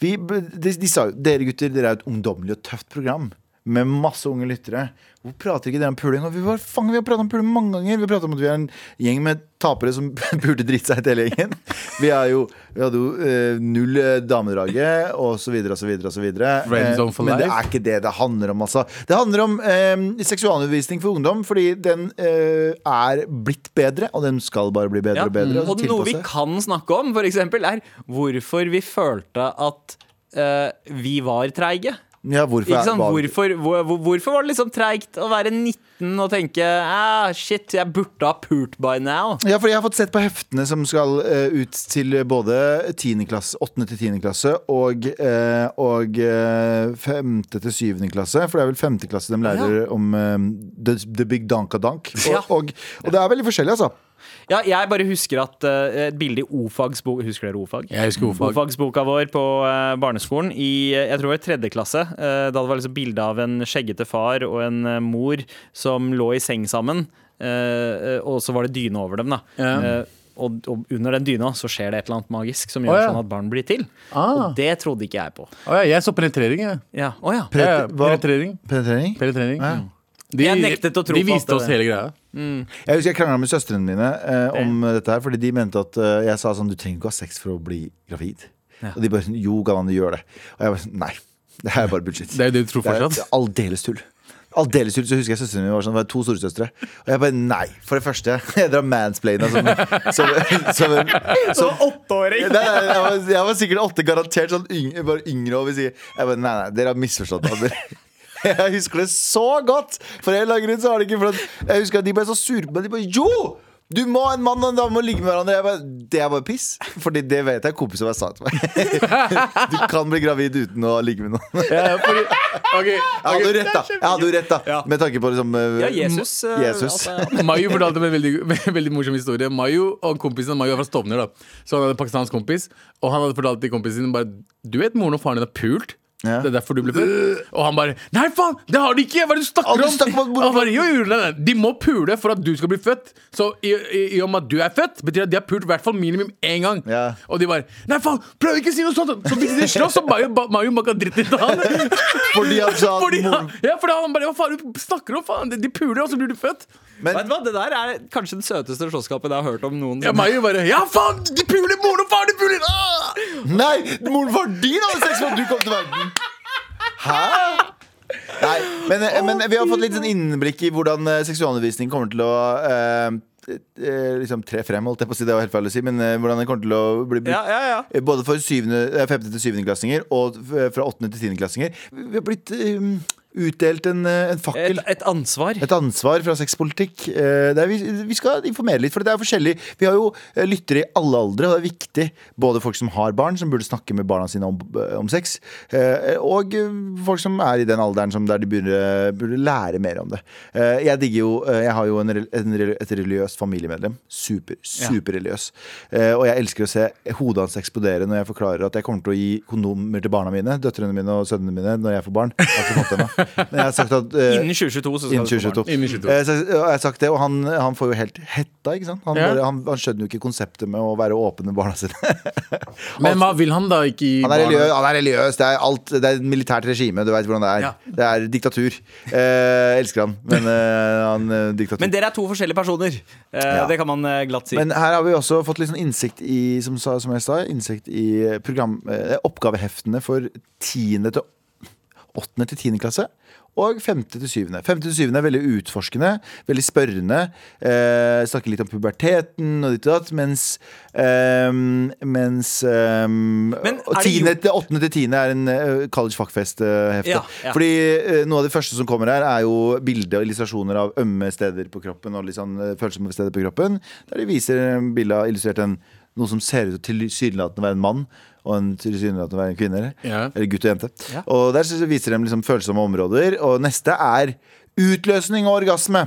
Speaker 3: vi de, de sa jo Dere gutter, dere er et ungdommelig og tøft program. med masse unge lyttere. Hvor prater ikke dere om puling? Og vi, var, faen, vi har pratet om puling mange ganger. Vi har pratet om at vi er en gjeng med tapere som burde drite seg ut hele gjengen. Vi, er jo, vi hadde jo eh, null eh, damedraget, og så videre og så videre. Og så videre.
Speaker 2: Friend zone
Speaker 3: Eh,
Speaker 2: for
Speaker 3: men det
Speaker 2: life.
Speaker 3: er ikke det det handler om, altså. Det handler om eh, seksualundervisning for ungdom, fordi den eh, er blitt bedre, og den skal bare bli bedre
Speaker 4: Ja.
Speaker 3: og bedre.
Speaker 4: Og
Speaker 3: så
Speaker 4: noe vi
Speaker 3: tilpasse.
Speaker 4: kan snakke om, for eksempel, er hvorfor vi følte at eh, vi var treige.
Speaker 3: ja, hvorfor,
Speaker 4: Ikke
Speaker 3: er-
Speaker 4: sant?
Speaker 3: hva-
Speaker 4: Hvorfor, hvor, hvor- hvorfor var det liksom treigt å være 19 og tenke ah, shit, jeg burde ha pult by now?
Speaker 3: Ja, for jeg har fått sett på heftene som skal eh, ut til både 10. klasse, 8. til 10. klasse og, eh, og eh, 5. til 7. klasse. For det er vel 5. klasse de lærer om eh, the, the Big Danka Dank. Og,
Speaker 4: Ja.
Speaker 3: og, og det er veldig forskjellig, altså.
Speaker 4: Ja, jeg bare husker at eh, et bilde i O-fagsboka Husker dere O-fag?
Speaker 2: Jeg husker ordfag.
Speaker 4: O-fagsboka vår på eh, barneskolen i eh, jeg tror det var i tredje klasse. eh, da det var liksom bilde av en skjeggete far og en eh, mor som lå i seng sammen. eh, eh, og så var det dyne over dem. da
Speaker 2: Ja.
Speaker 4: Eh, og, og under den dyna så skjer det et eller annet magisk som gjør
Speaker 2: Å, ja.
Speaker 4: sånn at barn blir til.
Speaker 2: Ah.
Speaker 4: Og det trodde ikke jeg på.
Speaker 2: Å ja, jeg så penetrering, jeg.
Speaker 4: Ja, å ja.
Speaker 2: Ja, ja,
Speaker 3: hva-
Speaker 2: penetrering.
Speaker 3: Penetrering.
Speaker 2: penetrering.
Speaker 3: Ja.
Speaker 2: De,
Speaker 4: Jeg nektet å tro
Speaker 2: de
Speaker 4: på at
Speaker 2: viste oss
Speaker 4: det-
Speaker 2: hele greia.
Speaker 3: Jeg husker jeg krangla med søstrene mine eh, om dette her, fordi de mente at eh, jeg sa sånn Du trenger ikke ha sex for å bli gravid. Og de bare sånn Jo, Galvan, du gjør det. Og jeg bare sånn Nei. Det her er bare bullshit.
Speaker 2: Det er jo det du tror fortsatt.
Speaker 3: Det er aldeles tull. Aldeles tull, så husker jeg søstrene mine var sånn, det var to storesøstre. Og jeg bare nei. For det første, jeg drar mansplaina som, som, som, som,
Speaker 4: Åtteåring!
Speaker 3: Nei, nei, jeg, var, jeg var sikkert åtte, garantert sånn yng, bare yngre. Og vi sier jeg bare, nei, nei, dere har misforstått. Dere. Jeg husker det så godt! For en eller annen grunn så har det ikke for at Jeg husker at de ble så sure på meg. De bare Jo! Du må ha en mann og en dame og ligge med hverandre. Jeg bare, det er bare piss. Fordi det vet jeg kompiser meg sa til meg. Du kan bli gravid uten å ligge med noen. Jeg
Speaker 2: Ja, Eh, fordi, ok,
Speaker 3: hadde jo rett, da. Jeg hadde jo rett da
Speaker 4: Ja.
Speaker 3: Med tanke på liksom eh,
Speaker 4: Ja, Jesus. eh,
Speaker 3: Jesus.
Speaker 4: altså, ja.
Speaker 2: Mayu fortalte meg en veldig, veldig morsom historie. Mayu og kompisen Mayu er fra Stovner, da. Så han hadde en pakistansk kompis, og han hadde fortalt til kompisen sin bare Du vet moren og faren din har pult?
Speaker 3: Ja.
Speaker 2: Det er derfor du ble født? Og han bare Nei, faen! Det har de ikke! Hva er det du snakker
Speaker 3: Alle
Speaker 2: om?
Speaker 3: snakker om at moren-
Speaker 2: Han bare, jo, jo, nei, nei. De må pule for at du skal bli født. Så i, i, i og med at du er født, betyr det at de har pult i hvert fall minimum én gang.
Speaker 3: Ja.
Speaker 2: Og de bare Nei, faen! Prøv ikke å si noe sånt! Så hvis de slåss, så Mayu ba- Mayu bare kan drite i han.
Speaker 3: Fordi han sa at
Speaker 2: Fordi han,
Speaker 3: moren-
Speaker 2: ja, fordi han bare Hva faen du snakker om? Faen? De- De puler, og så blir du født.
Speaker 4: Vet du hva, Det der er kanskje den søteste slåsskampen jeg har hørt om noen.
Speaker 2: Ja, Mayu bare Ja, faen! De puler! Moren og faren de puler! Ah!
Speaker 3: Nei, moren var din hadde sex før du kom til verden Hæ? Nei, men, men vi har fått litt sånn innblikk i hvordan eh, seksualundervisning kommer til å eh, eh, liksom tre frem, holdt jeg på å si. Det var helt feil å si, men eh, hvordan den kommer til å bli brukt
Speaker 4: Ja, ja, ja.
Speaker 3: eh, både for 5. til 7. klassinger og f- eh, fra 8. til 10. klassinger. Vi har blitt eh, utdelt en, eh, en fakkel.
Speaker 4: Et, et ansvar.
Speaker 3: Et ansvar fra sexpolitikk. Eh, Det er, vi, vi skal informere litt, for det er forskjellig. Vi har jo eh, lyttere i alle aldre, og det er viktig. Både folk som har barn, som burde snakke med barna sine om, om sex, eh, og eh, folk som er i den alderen som der de burde, burde lære mer om det. Eh, Jeg digger jo eh, Jeg har jo en, rel- en, rel- et religiøst familiemedlem. Super, superreligiøs. Eh, Og jeg elsker å se hodet hans eksplodere når jeg forklarer at jeg kommer til å gi kondomer til barna mine, døtrene mine og sønnene mine, når jeg får barn. Jeg har ikke fått det ennå. Men jeg har sagt at eh,
Speaker 4: Innen 2022. så skal
Speaker 3: Innen
Speaker 4: du få barn.
Speaker 3: 2022.
Speaker 2: Innen 22.
Speaker 3: Eh, så jeg- og jeg har sagt det, og han, han får jo helt hetta, ikke sant? Han,
Speaker 2: Ja.
Speaker 3: bare, han, han skjønner jo ikke konseptet med å være åpen med barna sine.
Speaker 2: Men hva vil han da ikke i
Speaker 3: Han er
Speaker 2: barna?
Speaker 3: religiøs, han er religiøs det, er alt, det er et militært regime, du veit hvordan det er.
Speaker 4: Ja.
Speaker 3: Det er diktatur. Eh, elsker han, men eh, han eh, diktatur.
Speaker 4: Men dere er to forskjellige personer. Eh,
Speaker 3: Ja.
Speaker 4: Det kan man eh, glatt si.
Speaker 3: Men her har vi også fått litt sånn innsikt i som, sa, som jeg sa, innsikt i program, eh, oppgaveheftene for 10. til 8. til 10. klasse. Og 5. til 7. 5. til 7. er veldig utforskende, veldig spørrende. Eh, snakker litt om puberteten og ditt og datt. Mens, eh, mens eh,
Speaker 4: Men
Speaker 3: og
Speaker 4: er det
Speaker 3: 10.
Speaker 4: gjort-
Speaker 3: til 8. til 10. er en eh, college fuckfest-hefte.
Speaker 4: Ja, ja.
Speaker 3: Fordi eh, noe av det første som kommer her, er jo bilder og illustrasjoner av ømme steder på kroppen. Og litt sånn eh, følsomme steder på kroppen Der de viser eh, bilder av illustrert en, noe som ser ut til tilsynelatende å være en mann. Og en tilsynelatende å være en kvinne.
Speaker 2: Ja.
Speaker 3: Eller gutt og jente. Og der så viser de liksom følsomme områder. Og neste er utløsning og orgasme.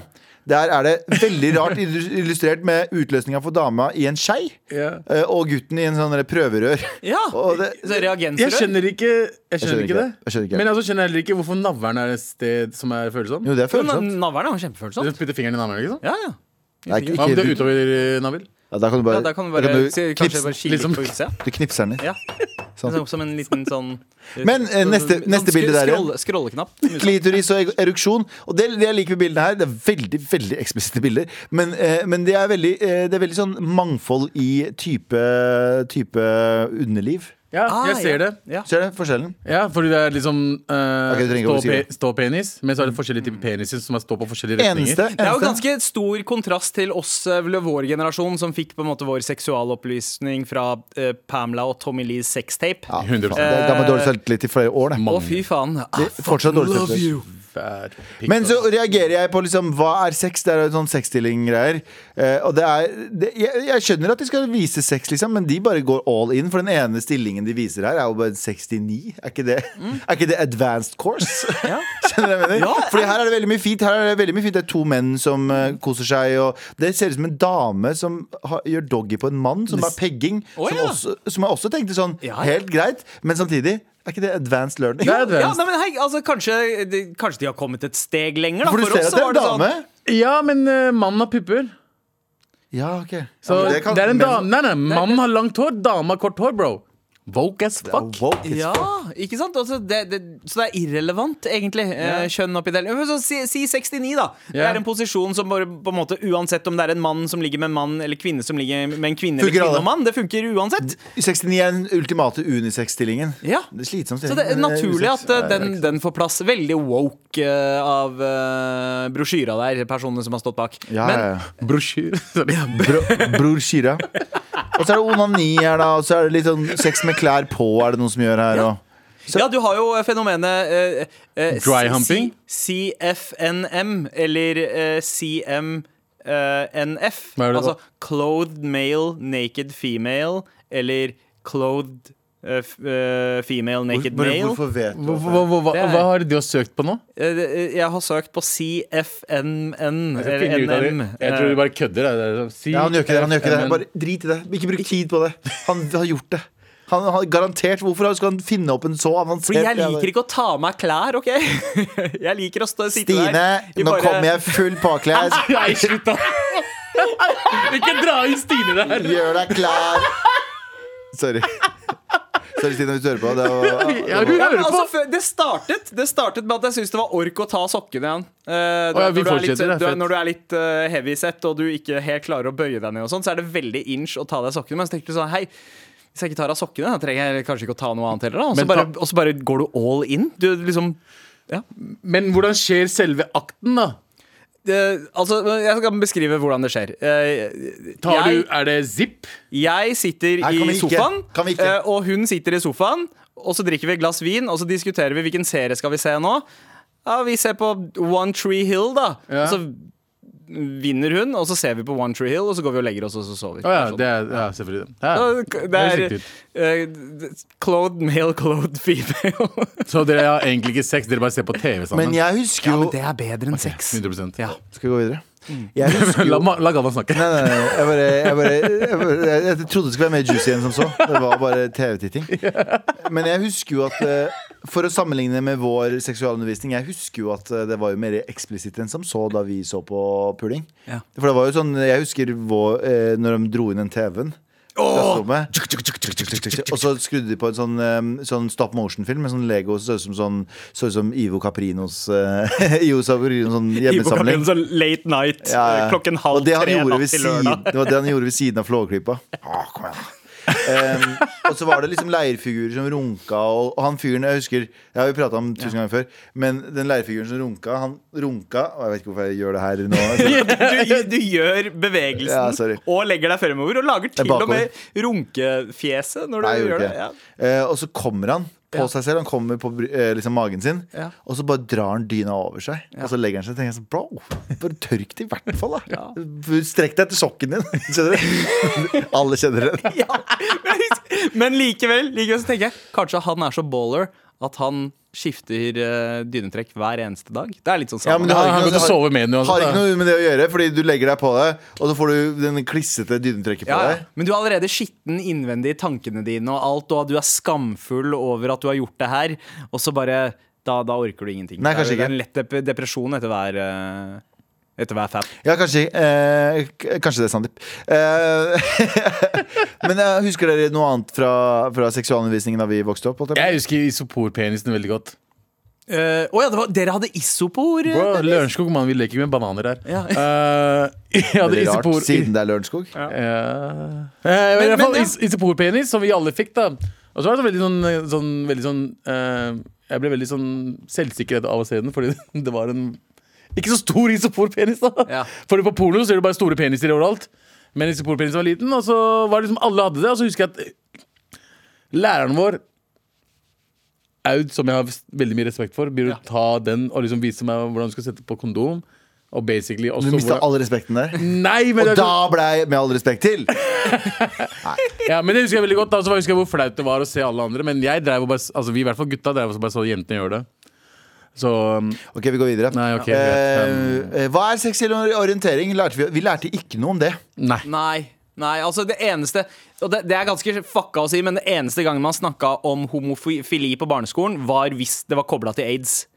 Speaker 3: Der er det veldig rart illus- illustrert med utløsninga for dama i en skei.
Speaker 2: Ja.
Speaker 3: eh, Og gutten i en sånn der prøverør.
Speaker 4: ja!
Speaker 3: Og det-
Speaker 4: Så reagenser
Speaker 2: Jeg skjønner ikke Jeg skjønner
Speaker 3: skjønner
Speaker 2: ikke det.
Speaker 3: ikke det. Jeg skjønner ikke det.
Speaker 2: Men jeg også skjønner heller ikke hvorfor navlen er et sted som er følsomt.
Speaker 3: Jo, det er
Speaker 4: Jo, na-
Speaker 3: følsomt.
Speaker 4: Navlen er jo kjempefølsom.
Speaker 2: Du putter fingeren i navlen, ikke sant?
Speaker 4: Ja, ja.
Speaker 3: Nei, ikke-
Speaker 2: Hva om det er
Speaker 3: ikke-
Speaker 2: utover eh, navl?
Speaker 3: Ja, da kan du bare,
Speaker 4: Ja, da kan vi
Speaker 3: da
Speaker 4: bare,
Speaker 3: kan du
Speaker 4: se-
Speaker 3: knipse,
Speaker 4: kanskje bare kile
Speaker 2: liksom-
Speaker 4: litt på utsida.
Speaker 3: du knipser den litt.
Speaker 4: Ja. Sånn, Som en liten sånn
Speaker 3: Men, eh, neste-
Speaker 4: sånn
Speaker 3: neste bilde der, ja.
Speaker 4: skrolle- Scrolleknapp.
Speaker 3: Klitoris og eruksjon. Og det, det jeg liker med bildene her, det er veldig veldig eksplisitte bilder, men, eh, men det, er veldig, eh, det er veldig sånn mangfold i type, type underliv.
Speaker 2: Ja,
Speaker 4: Ah,
Speaker 2: jeg ser
Speaker 4: ja.
Speaker 2: det.
Speaker 4: Ja.
Speaker 3: Ser du forskjellen?
Speaker 2: Ja, fordi det er liksom eh,
Speaker 3: Ok, du trenger ikke å si
Speaker 2: stå-
Speaker 3: det.
Speaker 2: ståpenis, men så er det forskjellige typer peniser som er stå på forskjellige retninger.
Speaker 3: Eneste,
Speaker 4: Det er jo
Speaker 3: eneste.
Speaker 4: ganske stor kontrast til oss, eh, vel, vår generasjon, som fikk på en måte vår seksualopplysning fra eh, Pamela og Tommy Lees sextape.
Speaker 3: Ja,
Speaker 2: 100%.
Speaker 3: faen, det ga meg dårlig selvtillit i flere år. Det.
Speaker 4: Å, fy faen. I
Speaker 3: Det- fortsatt dårlig
Speaker 4: fucking love
Speaker 3: selvtillit.
Speaker 4: you.
Speaker 2: Fæl pikk,
Speaker 3: Men så
Speaker 2: ass.
Speaker 3: reagerer jeg på liksom hva er sex? Det er jo sånn sexstilling-greier. Eh, og det er det, jeg, jeg skjønner at de skal vise sex, liksom, men de bare går all in. For den ene stillingen de viser her, er jo bare 69. Er ikke det,
Speaker 4: Mm.
Speaker 3: er ikke det advanced course? skjønner du hva jeg mener? Fordi her er det veldig mye fint. Her er det veldig mye fint Det er to menn som eh, koser seg, og det ser ut som en dame som har, gjør doggy på en mann, som er pegging.
Speaker 4: Å,
Speaker 3: som,
Speaker 4: ja.
Speaker 3: også, som jeg også tenkte sånn,
Speaker 4: Ja, ja.
Speaker 3: helt greit, men samtidig er ikke det advanced learning?
Speaker 2: Det er advanced.
Speaker 4: Ja, nei, men hei, altså, kanskje, de, kanskje de har kommet et steg lenger, da.
Speaker 3: For du ser at
Speaker 4: oss så
Speaker 3: det er
Speaker 4: var
Speaker 3: en dame.
Speaker 4: sånn
Speaker 2: Ja, men eh, mannen har pupper.
Speaker 3: Ja, ok
Speaker 2: Så
Speaker 3: Ja, men
Speaker 2: det,
Speaker 3: kan-
Speaker 2: er en
Speaker 3: men-
Speaker 2: dame Nei, nei, mannen har langt hår, dama har kort hår, bro. Woke as
Speaker 3: Ja,
Speaker 2: fuck.
Speaker 3: woke as
Speaker 4: Ja,
Speaker 3: fuck.
Speaker 4: ikke sant? Altså, det, det, så det er irrelevant, egentlig. eh, Kjønn oppi delen. Men Så, si, si 69, da. Det
Speaker 2: Ja.
Speaker 4: er en posisjon som bare på en måte Uansett om det er en mann som ligger med en mann, eller kvinne som ligger med en kvinne, eller
Speaker 3: Funker alle.
Speaker 4: kvinne og mann. Det funker uansett.
Speaker 3: 69 er den ultimate unisex-stillingen.
Speaker 4: Ja.
Speaker 3: Det er slitsom
Speaker 4: Så
Speaker 3: stilling.
Speaker 4: det er
Speaker 3: men
Speaker 4: naturlig
Speaker 3: unisex.
Speaker 4: at eh, den, den får plass. Veldig woke eh, av eh, brosjyra der, personene som har stått bak.
Speaker 3: ja,
Speaker 4: Men
Speaker 3: ja, ja.
Speaker 2: Brosjyre. Sorry.
Speaker 3: Bro, bror Shira. Og så er det onani her, da. Og så er det litt sånn sex med klær på, er det noen som gjør her. Og.
Speaker 4: ja, du har jo fenomenet eh, eh,
Speaker 2: Dry humping?
Speaker 4: C- CFNM, eller eh, CMNF.
Speaker 2: Hva er det
Speaker 4: altså
Speaker 2: da?
Speaker 4: clothed male, naked female, eller clothed eh, f- eh, female, naked
Speaker 3: Hvor-
Speaker 4: male.
Speaker 3: hvorfor vet du
Speaker 2: Hva, hva, hva, hva,
Speaker 4: Det er-
Speaker 2: hva har de søkt på nå?
Speaker 4: Eh, det- jeg har søkt på CFNN, eller
Speaker 2: Jeg
Speaker 4: NM.
Speaker 2: sånn- tror de bare kødder.
Speaker 3: Ja, han gjør ikke det. han gjør ikke det Bare drit i det. Ikke bruk tid på det. Han har gjort det. Han har garantert Hvorfor skal han finne opp en så avansert
Speaker 4: Eh, Fordi jeg liker ikke å ta av meg klær, OK? Jeg liker å stå, sitte
Speaker 3: Stine,
Speaker 4: der i
Speaker 3: nå
Speaker 4: bare-
Speaker 3: kommer jeg full påkledd.
Speaker 2: Nei, slutt, da! Ikke dra inn Stine der.
Speaker 3: Gjør deg klar. Sorry. Sorry, Stine, hvis du hører på. Det var,
Speaker 2: Ja, hun
Speaker 4: Ja, men
Speaker 2: hører på.
Speaker 4: altså, før- det, startet, det startet med at jeg syntes det var ork å ta av sokkene igjen. Eh,
Speaker 2: Å ja, vi
Speaker 4: når, du er litt,
Speaker 2: fortsetter, det er
Speaker 4: du, er-
Speaker 2: fett.
Speaker 4: når du er litt eh, heavy set og du ikke helt klarer å bøye deg ned, og sånn, så er det veldig inch å ta av deg sokkene. Men så tenkte du sånn Hei, hvis jeg ikke tar av sokkene, da trenger jeg kanskje ikke å ta noe annet heller. da. Og så
Speaker 2: Men
Speaker 4: bare,
Speaker 2: ta-
Speaker 4: og så bare går du all in. Du liksom
Speaker 2: Men hvordan skjer selve akten, da?
Speaker 4: eh, Altså, jeg skal beskrive hvordan det skjer. Eh,
Speaker 2: Tar
Speaker 4: jeg,
Speaker 2: du, er det zip?
Speaker 4: Jeg sitter
Speaker 3: Nei, kan vi
Speaker 4: i
Speaker 3: ikke?
Speaker 4: sofaen,
Speaker 3: Kan vi ikke?
Speaker 4: eh, og hun sitter i sofaen. Og så drikker vi et glass vin, og så diskuterer vi hvilken serie skal vi se nå. Ja, Vi ser på One Tree Hill, da.
Speaker 2: Ja.
Speaker 4: Og så vinner hun, og så ser vi på One Tree Hill, og så går vi og legger oss, og så sover vi.
Speaker 2: Å ja, det er ja, selvfølgelig. Ja.
Speaker 4: Så det
Speaker 2: høres
Speaker 4: er
Speaker 2: riktig ut.
Speaker 4: eh, d- clothed male, clothed female.
Speaker 2: Så dere har egentlig ikke sex, dere bare ser på TV sammen?
Speaker 3: men jeg husker jo
Speaker 4: det er bedre enn sex.
Speaker 2: 100
Speaker 4: Ja.
Speaker 3: Skal vi gå videre? Jeg husker
Speaker 2: La,
Speaker 3: jo
Speaker 2: ma- la Galvan snakke.
Speaker 3: Nei, nei, nei. Jeg, bare, jeg, bare, jeg, bare, jeg, jeg trodde det skulle være mer juicy enn som så. Det var bare TV-titting. Men jeg husker jo at eh, For å sammenligne med vår seksualundervisning, jeg husker jo at eh, det var jo mer eksplisitt enn som så da vi så på puling.
Speaker 4: Ja.
Speaker 3: For det var jo sånn Jeg husker vår, eh, når de dro inn den TV-en. klasserommet. Og så skrudde de på en sånn, eh, sånn stop motion-film med sånn Lego som så ut som, sånn, så ut som Ivo Caprinos eh, Ivo Caprinos sånn hjemmesamling.
Speaker 4: Ibokapilen, så late night, eh, klokken halv
Speaker 3: Og det han
Speaker 4: tre
Speaker 3: gjorde
Speaker 4: natt
Speaker 3: ved
Speaker 4: til lørdag.
Speaker 3: siden- Det var det han gjorde ved siden av Flåklypa. Å, kom igjen. Em, og så var det liksom leirfigurer som runka, og, og han fyren jeg husker Det har vi prata om tusen ganger før, men den leirfiguren som runka, han runka Og jeg vet ikke hvorfor jeg gjør det her nå.
Speaker 4: du, du gjør
Speaker 3: Ja,
Speaker 4: bevegelsen
Speaker 3: sorry.
Speaker 4: og legger deg fremover og lager til og
Speaker 3: bakover.
Speaker 4: med runkefjeset når du
Speaker 3: Nei, jeg gjorde
Speaker 4: gjør det.
Speaker 3: ikke
Speaker 4: Ja.
Speaker 3: det. Eh, og så kommer han på seg selv, han kommer på bry- eh, liksom magen sin,
Speaker 4: Ja.
Speaker 3: og så bare drar han dyna over seg. Og så legger han seg og tenker sånn Bro, bare tørk det i hvert fall, da. Strekk deg etter sokken din. Skjønner du? Alle kjenner det.
Speaker 4: Men likevel, likevel så tenker jeg kanskje han er så baller at han skifter eh, dynetrekk hver eneste dag. Det er litt sånn
Speaker 3: Ja, men
Speaker 4: samme.
Speaker 3: du
Speaker 2: Han
Speaker 3: har ikke
Speaker 2: har
Speaker 3: noe-
Speaker 2: gått og sovet med den uansett,
Speaker 3: Har ikke
Speaker 2: da.
Speaker 3: noe med det å gjøre, fordi du legger deg på deg, og så får du den klissete dynetrekket på
Speaker 4: Ja, ja.
Speaker 3: deg.
Speaker 4: Men du er allerede skitten innvendig i tankene dine og alt, og du er skamfull over at du har gjort det her, og så bare Da, da orker du ingenting.
Speaker 3: Nei, kanskje
Speaker 4: Det er en lett dep depresjon etter hver eh, etter hver fap.
Speaker 3: Ja, kanskje. Eh, k- kanskje det er Sandeep. Eh, men jeg husker dere noe annet fra, fra seksualundervisningen da vi vokste opp? holdt jeg på?
Speaker 2: Jeg husker isoporpenisen veldig godt.
Speaker 4: Eh, Å ja, det var, dere hadde isopor? eh,
Speaker 2: Bro,
Speaker 4: dere-
Speaker 2: Lørenskog, mann, vi leker ikke med bananer her.
Speaker 4: Ja.
Speaker 2: Eh, jeg hadde
Speaker 3: Veldig rart,
Speaker 2: isopor
Speaker 3: siden det er Lørenskog.
Speaker 2: Ja. Eh, men, I hvert fall
Speaker 4: men, ja.
Speaker 2: is isoporpenis, som vi alle fikk, da. Og så var det så veldig sånn, eh, sånn, veldig sånn eh, Jeg ble veldig sånn selvsikker av å se den, fordi det var en ikke så stor isoporpenis, da.
Speaker 4: Ja.
Speaker 2: Fordi på porno så er det bare store peniser overalt. Men isoporpenisen var liten, og så var det liksom alle hadde det. Og så husker jeg at læreren vår Aud, som jeg har veldig mye respekt for, begynner å ta den og liksom vise meg hvordan du skal sette på kondom. Og basically også
Speaker 3: Du mista
Speaker 2: hvordan-
Speaker 3: all respekten der.
Speaker 2: Nei, men
Speaker 3: Og
Speaker 2: det er sånn-
Speaker 3: da ble jeg med all respekt til!
Speaker 2: Ja, men det husker jeg veldig godt. Altså, jeg husker jeg hvor flaut det var å se alle andre. Men jeg drev og bare, altså, vi i hvert fall gutta drev og bare så jentene gjør det. Så um,
Speaker 3: Ok, vi går videre.
Speaker 2: Nei, ok, greit.
Speaker 3: eh, hva er seksuell orientering? Lærte vi, vi lærte ikke noe om det.
Speaker 2: nei.
Speaker 4: Nei. Nei, altså det eneste Og det, det er ganske fucka å si, men det eneste gangen man snakka om homofili på barneskolen, var hvis det var kobla til aids.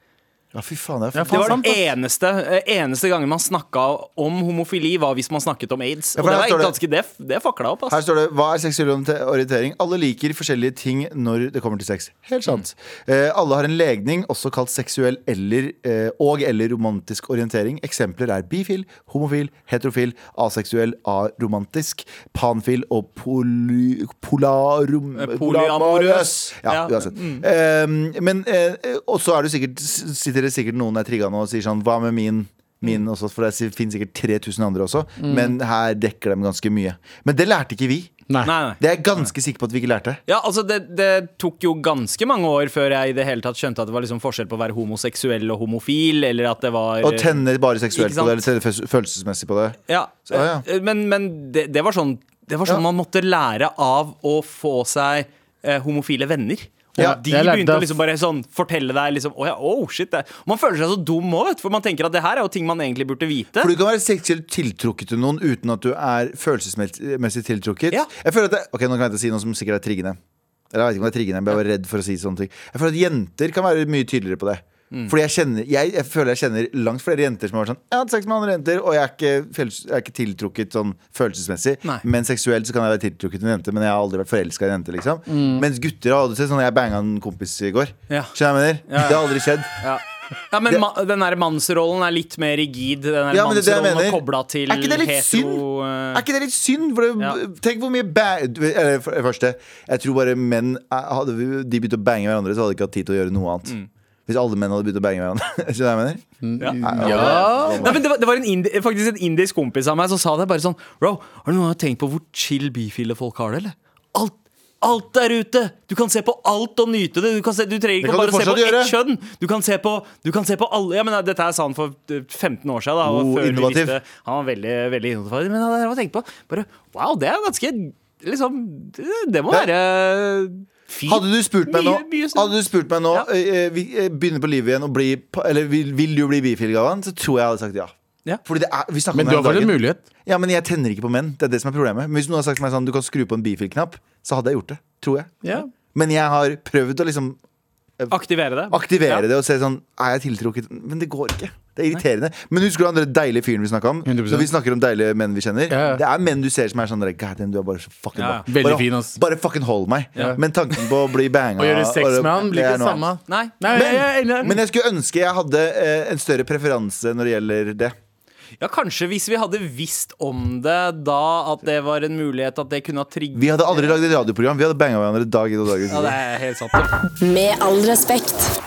Speaker 3: Ja, fy faen, det er
Speaker 2: Ja, faen,
Speaker 3: faen.
Speaker 4: Det var
Speaker 2: sant,
Speaker 4: den
Speaker 2: ass.
Speaker 4: eneste, eh, eneste gangen man snakka om homofili, var hvis man snakket om aids.
Speaker 3: Ja,
Speaker 4: Og
Speaker 3: for
Speaker 4: det,
Speaker 3: her
Speaker 4: var
Speaker 3: står
Speaker 4: ganske, det, det fuckla opp,
Speaker 3: Her
Speaker 4: ass.
Speaker 3: står det Hva er seksuell oriente- orientering? Alle liker forskjellige ting når det kommer til sex. Helt
Speaker 4: Mm.
Speaker 3: sant. Eh, alle har en legning, også kalt seksuell eller, eh, og eller romantisk orientering. Eksempler er bifil, homofil, heterofil, aseksuell, aromantisk, panfil og poly, polarom...
Speaker 4: Eh, polyamorøs.
Speaker 3: Ja,
Speaker 4: Ja.
Speaker 3: uansett. Eh, men eh, Og så er det sikkert, sitter det sikkert noen der trigga nå og sier sånn Hva med min?
Speaker 4: Mm.
Speaker 3: Min også, for det finnes sikkert 3000 andre også, men her dekker de ganske mye. Men det lærte ikke vi.
Speaker 2: Nei.
Speaker 4: Nei, nei.
Speaker 3: Det er jeg ganske sikker på at vi ikke lærte.
Speaker 4: Ja, altså det, det tok jo ganske mange år før jeg i det hele tatt skjønte at det var liksom forskjell på å være homoseksuell og homofil, eller at det var
Speaker 3: Og tenne bare seksuelt på
Speaker 4: Eh, Ikke sant?
Speaker 3: det, eller tenne føl- følelsesmessig på det.
Speaker 4: Ja, Eh,
Speaker 3: Så, ja,
Speaker 4: Men, men det, det var sånn, det var sånn
Speaker 3: Ja.
Speaker 4: man måtte lære av å få seg eh, homofile venner. Og
Speaker 3: Ja,
Speaker 4: de
Speaker 2: jeg lærte
Speaker 4: begynte å
Speaker 2: av-
Speaker 4: liksom bare sånn fortelle deg liksom, oh ja, oh, shit, det. Man føler seg så dum òg, for man tenker at det her er jo ting man egentlig burde vite.
Speaker 3: For du kan være seksuelt tiltrukket til noen uten at du er følelsesmessig tiltrukket.
Speaker 4: Ja.
Speaker 3: Jeg føler at det, ok, Nå kan jeg ikke si noe som sikkert er triggende. Eller jeg vet ikke om det er triggende, men jeg var redd for å si sånne ting. Jeg føler at jenter kan være mye tydeligere på det.
Speaker 4: Mm.
Speaker 3: Fordi jeg, kjenner, jeg, jeg føler jeg kjenner langt flere jenter som har vært sånn Jeg har hatt sex med andre jenter, og jeg er ikke, følels- jeg er ikke tiltrukket sånn følelsesmessig.
Speaker 4: Nei.
Speaker 3: Men seksuelt så kan jeg være tiltrukket til en jente, men jeg har aldri vært forelska i en jente. liksom Mens gutter har aldri sett sånn Jeg banga en kompis i går.
Speaker 4: Mm. Ja.
Speaker 3: Skjønner du hva jeg mener?
Speaker 4: ja.
Speaker 3: Det har aldri skjedd.
Speaker 4: Ja. Ja, men ma den der mannsrollen er litt mer rigid. Den der
Speaker 3: Ja, men det er det jeg
Speaker 4: mannsrollen er
Speaker 3: mener.
Speaker 4: kobla til
Speaker 3: Er ikke det litt
Speaker 4: hetero eh,
Speaker 3: Er ikke det litt synd? For det,
Speaker 4: Ja.
Speaker 3: Tenk hvor mye ba- du- eller, For det første, jeg tror bare menn eh, Hadde vi- de begynt å bange hverandre, så hadde de ikke hatt tid til å gjøre noe annet.
Speaker 4: Mm.
Speaker 3: Hvis alle menn hadde begynt å bange hverandre. Skjønner du hva jeg mener?
Speaker 2: Mm. Ja.
Speaker 4: Nei, men det var, det var en indi faktisk en indisk kompis av meg som sa det bare sånn Bro, har du noen gang tenkt på hvor chill bifile folk har det, eller? Alt, alt der ute! Du kan se på alt og nyte det. Du, kan se, du trenger
Speaker 3: Det kan
Speaker 4: ikke
Speaker 3: du
Speaker 4: bare se på
Speaker 3: fortsatt
Speaker 4: ett kjønn. Du kan se på, du kan se på alle ja, men Dette her sa han for eh, 15 år siden. Da, og
Speaker 3: Oh,
Speaker 4: før vi
Speaker 3: innovativ.
Speaker 4: visste- han var veldig, veldig innovativ. Men det var tenkt på bare, Wow, det er ganske liksom, Det det må
Speaker 3: Det-
Speaker 4: være fint.
Speaker 3: Hadde du spurt meg nå,
Speaker 4: Mye- mye snakk.
Speaker 3: hadde du spurt meg nå
Speaker 4: Ja.
Speaker 3: eh, eh, vi eh, begynner på livet igjen og bli, pa- Eller vil, vil du bli bifil, Gavan? Så tror jeg jeg hadde sagt ja.
Speaker 4: Ja.
Speaker 3: Fordi det er, vi snakker
Speaker 2: Men
Speaker 3: om
Speaker 2: du
Speaker 3: det
Speaker 2: har
Speaker 3: her om
Speaker 2: fått en
Speaker 3: dagen.
Speaker 2: mulighet.
Speaker 3: Ja, men jeg tenner ikke på menn. Det er det som er problemet. Men hvis noen hadde sagt til meg sånn, du kan skru på en bifil-knapp, så hadde jeg gjort det. Tror jeg.
Speaker 2: Ja.
Speaker 3: Men jeg har prøvd å liksom
Speaker 4: Aktivere det.
Speaker 3: Aktivere
Speaker 4: Ja.
Speaker 3: det og se sånn Er jeg tiltrukket? Men det går ikke. Det er irriterende. Men husker du han der deilige fyren vi snakka om?
Speaker 2: 100%.
Speaker 3: Når vi snakker om deilige menn vi kjenner.
Speaker 2: Ja, ja.
Speaker 3: Det er menn du ser som er sånn der, God damn, du er bare så fucking
Speaker 4: Ja, ja.
Speaker 3: bra.
Speaker 2: Veldig
Speaker 3: bare,
Speaker 2: fin, ass.
Speaker 3: bare fucking hold meg. Men tanken på å bli banga
Speaker 2: Å gjøre sex
Speaker 3: og-
Speaker 2: med han blir
Speaker 3: det er
Speaker 2: ikke det
Speaker 3: noe
Speaker 2: samme.
Speaker 3: annet.
Speaker 4: Nei.
Speaker 2: Nei, jeg, jeg, er enig.
Speaker 3: Men jeg skulle ønske jeg hadde eh, en større preferanse når det gjelder det.
Speaker 4: Ja, kanskje hvis vi hadde visst om det da, at det var en mulighet at det kunne ha trigget
Speaker 3: Vi hadde aldri lagd et radioprogram. Vi hadde banga hverandre dag inn og dag ut.
Speaker 4: Ja, det er helt sant.
Speaker 5: Med all respekt.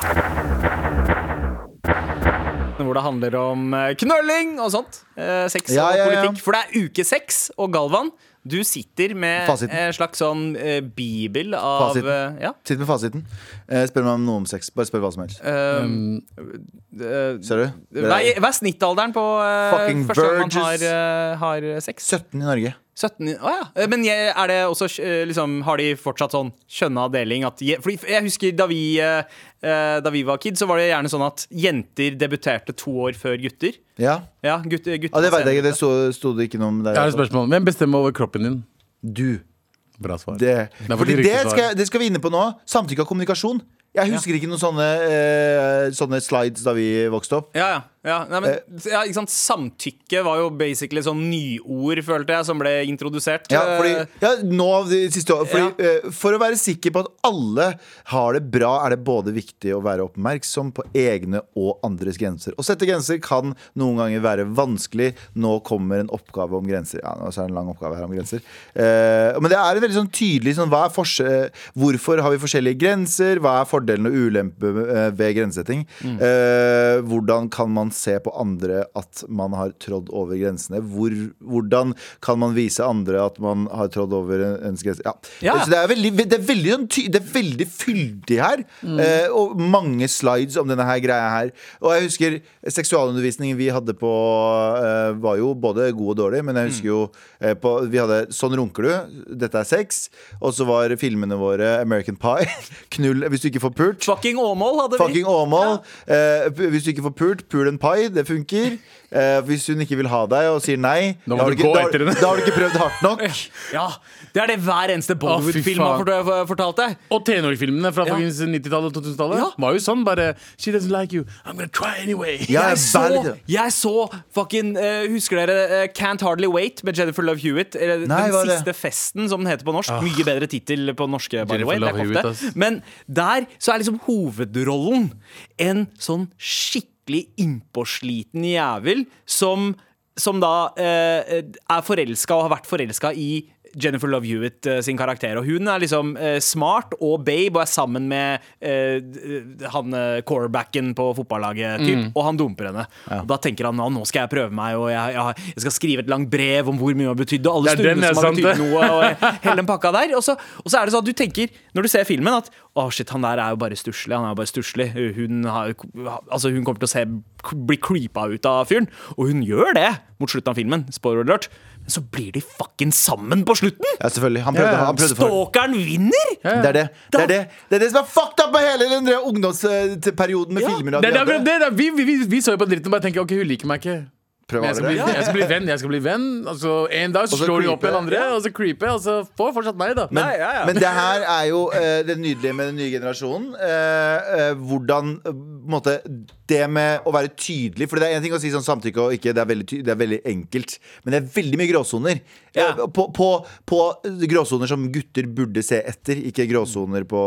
Speaker 4: Hvor det handler om eh, knølling og sånt. Eh, sex
Speaker 3: Ja,
Speaker 4: og
Speaker 3: ja, ja.
Speaker 4: politikk. For det er uke seks, og Galvan, du sitter med
Speaker 3: Fasiten.
Speaker 4: en slags sånn eh, bibel av
Speaker 3: Fasiten.
Speaker 4: eh, Ja.
Speaker 3: Sitt med fasiten. Eh, spør meg om noe om sex. Bare spør hva som helst.
Speaker 4: Eh,
Speaker 3: Mm.
Speaker 4: eh,
Speaker 3: Ser du? Det
Speaker 4: hva, er,
Speaker 3: er
Speaker 4: hva er snittalderen på eh,
Speaker 3: Fucking
Speaker 4: første gang man har,
Speaker 3: virgins.
Speaker 4: eh, har sex?
Speaker 3: 17 i Norge.
Speaker 4: 17 Å ja. Eh, Men jeg, er det også eh, liksom, Har de fortsatt sånn kjønna deling? At, je- fordi jeg husker da vi, eh, eh, da vi var kid, så var det gjerne sånn at jenter debuterte to år før gutter.
Speaker 3: Ja,
Speaker 4: Ja, gutter, gutter
Speaker 3: ja det
Speaker 4: var
Speaker 3: veit jeg ikke.
Speaker 4: senere.
Speaker 3: Det sto, sto det ikke noe om der.
Speaker 2: Jeg har et spørsmål. Hvem bestemmer over kroppen din?
Speaker 3: Du.
Speaker 2: Bra svar.
Speaker 3: Det,
Speaker 2: er
Speaker 3: fordi
Speaker 2: fordi
Speaker 3: det,
Speaker 2: ryktet
Speaker 3: skal,
Speaker 2: var-
Speaker 3: det skal vi inne på nå. Samtykke og kommunikasjon. Jeg husker ikke noen sånne, eh, sånne slides da vi vokste opp.
Speaker 4: Ja, ja. Ja, nei, men,
Speaker 3: Eh.
Speaker 4: ja, ikke sant? Samtykke var jo basically sånn nyord, følte jeg, som ble introdusert. Eh,
Speaker 3: Ja, fordi, ja, nå de siste år, fordi, eh, For å være sikker på at alle har det bra, er det både viktig å være oppmerksom på egne og andres grenser. Å sette grenser kan noen ganger være vanskelig. Nå kommer en oppgave om grenser. Ja, nå er det en lang oppgave her om grenser. Eh, men det er en veldig sånn tydelig sånn, hva er forskjell- Hvorfor har vi forskjellige grenser? Hva er fordelen og ulempen eh, ved grensesetting? Eh, hvordan kan man se på andre at man har trådd over grensene? Hvor, hvordan kan man vise andre at man har trådd over en- ens grense? Ja.
Speaker 4: Ja.
Speaker 3: Så det er veldig, det er veldig, sånn ty- det er veldig fyldig her.
Speaker 2: Mm.
Speaker 3: eh, og mange slides om denne her greia her. Og jeg husker seksualundervisningen vi hadde på eh, Var jo både god og dårlig, men jeg
Speaker 2: Mm.
Speaker 3: husker jo eh, på, Vi hadde Sånn runker du, dette er sex. Og så var filmene våre American Pie. Knull hvis du ikke får pult.
Speaker 4: Fucking Åmål hadde vi.
Speaker 3: Fucking Åmål. Eh, pu- hvis du ikke får pult, pul en pai. Det funker. Eh, hvis hun ikke vil ha deg og sier nei,
Speaker 2: Da må
Speaker 3: har
Speaker 2: du
Speaker 3: ikke,
Speaker 2: gå
Speaker 3: da, har-
Speaker 2: etter henne.
Speaker 3: da har du ikke prøvd hardt nok.
Speaker 2: Eh,
Speaker 4: Ja, Det er det hver eneste Bollywood-film
Speaker 2: Å,
Speaker 4: har
Speaker 2: fy
Speaker 4: fort- for- fortalt deg.
Speaker 2: Og tenårfilmene fra
Speaker 4: Ja.
Speaker 2: fuckings 90-tallet og 2000-tallet
Speaker 4: Ja.
Speaker 2: var jo sånn. Bare She doesn't like you. I'm gonna try anyway.
Speaker 3: Ja,
Speaker 4: Jeg så,
Speaker 3: bare-
Speaker 4: jeg så fucking eh, Husker dere eh, Can't Hardly Wait med Jennifer Love Hewitt? Eller
Speaker 3: Nei, hva
Speaker 4: den
Speaker 3: er det? Ah.
Speaker 4: siste festen, som den heter på norsk. Mye bedre tittel på norske, by the
Speaker 2: Jennifer Love
Speaker 4: way. Det er
Speaker 2: Hewitt,
Speaker 4: ikke
Speaker 2: ass.
Speaker 4: ofte. Men der så er liksom hovedrollen en sånn skikkelig innpåsliten jævel som, som da eh, er forelska og har vært forelska i Jennifer Love Hewitt eh, sin karakter. Og hun er liksom eh, smart og babe og er sammen med eh, d- han eh, quarterbacken på fotballaget, typ,
Speaker 2: Mm.
Speaker 4: og han dumper henne. Og da tenker han at nå skal jeg prøve meg, og jeg, jeg, jeg skal skrive et langt brev om hvor mye hun har betydd, og alle
Speaker 2: Det er den
Speaker 4: stundene
Speaker 2: jeg
Speaker 4: som har
Speaker 2: sendte.
Speaker 4: betydd noe og hele den pakka der. Og så, og så er det sånn at du tenker, når du ser filmen, at å shit, han der er jo bare stusslig. Han er jo bare stusslig. Hun, har, altså, hun kommer til å se, bli creepa ut av fyren. Og hun gjør det mot slutten av filmen. Spoiler alert. Men så blir de fucking sammen på slutten!
Speaker 3: Ja, selvfølgelig. Han prøvde,
Speaker 2: Ja, ja.
Speaker 3: han prøvde for
Speaker 4: Stalkeren vinner!
Speaker 3: det er det. Det er det. det er det som er fucked up med hele den der ungdomsperioden med
Speaker 4: Ja.
Speaker 3: filmer. og
Speaker 2: Det, er- det, er
Speaker 3: alt det
Speaker 2: akkurat
Speaker 3: andre.
Speaker 2: det, det er, vi, vi, vi, vi så jo på dritten og bare tenker OK, hun liker meg ikke.
Speaker 3: Prøv å
Speaker 2: Men jeg skal,
Speaker 3: være
Speaker 2: bli,
Speaker 3: det.
Speaker 2: jeg skal bli venn, jeg skal bli venn. Altså, en dag så
Speaker 3: Og så
Speaker 2: slår de opp
Speaker 3: creepe.
Speaker 2: igjen andre, og så creeper jeg, og så får fortsatt meg, da.
Speaker 3: Men,
Speaker 4: Nei, ja, ja.
Speaker 3: men det her er jo eh, det nydelige med den nye generasjonen. Eh, eh, hvordan eh, på en måte, Det med å være tydelig. For det er én ting å si sånn samtykke og ikke, det er veldig, ty det er veldig enkelt. Men det er veldig mye gråsoner.
Speaker 4: Ja.
Speaker 3: Eh, På, på, på gråsoner som gutter burde se etter, ikke gråsoner på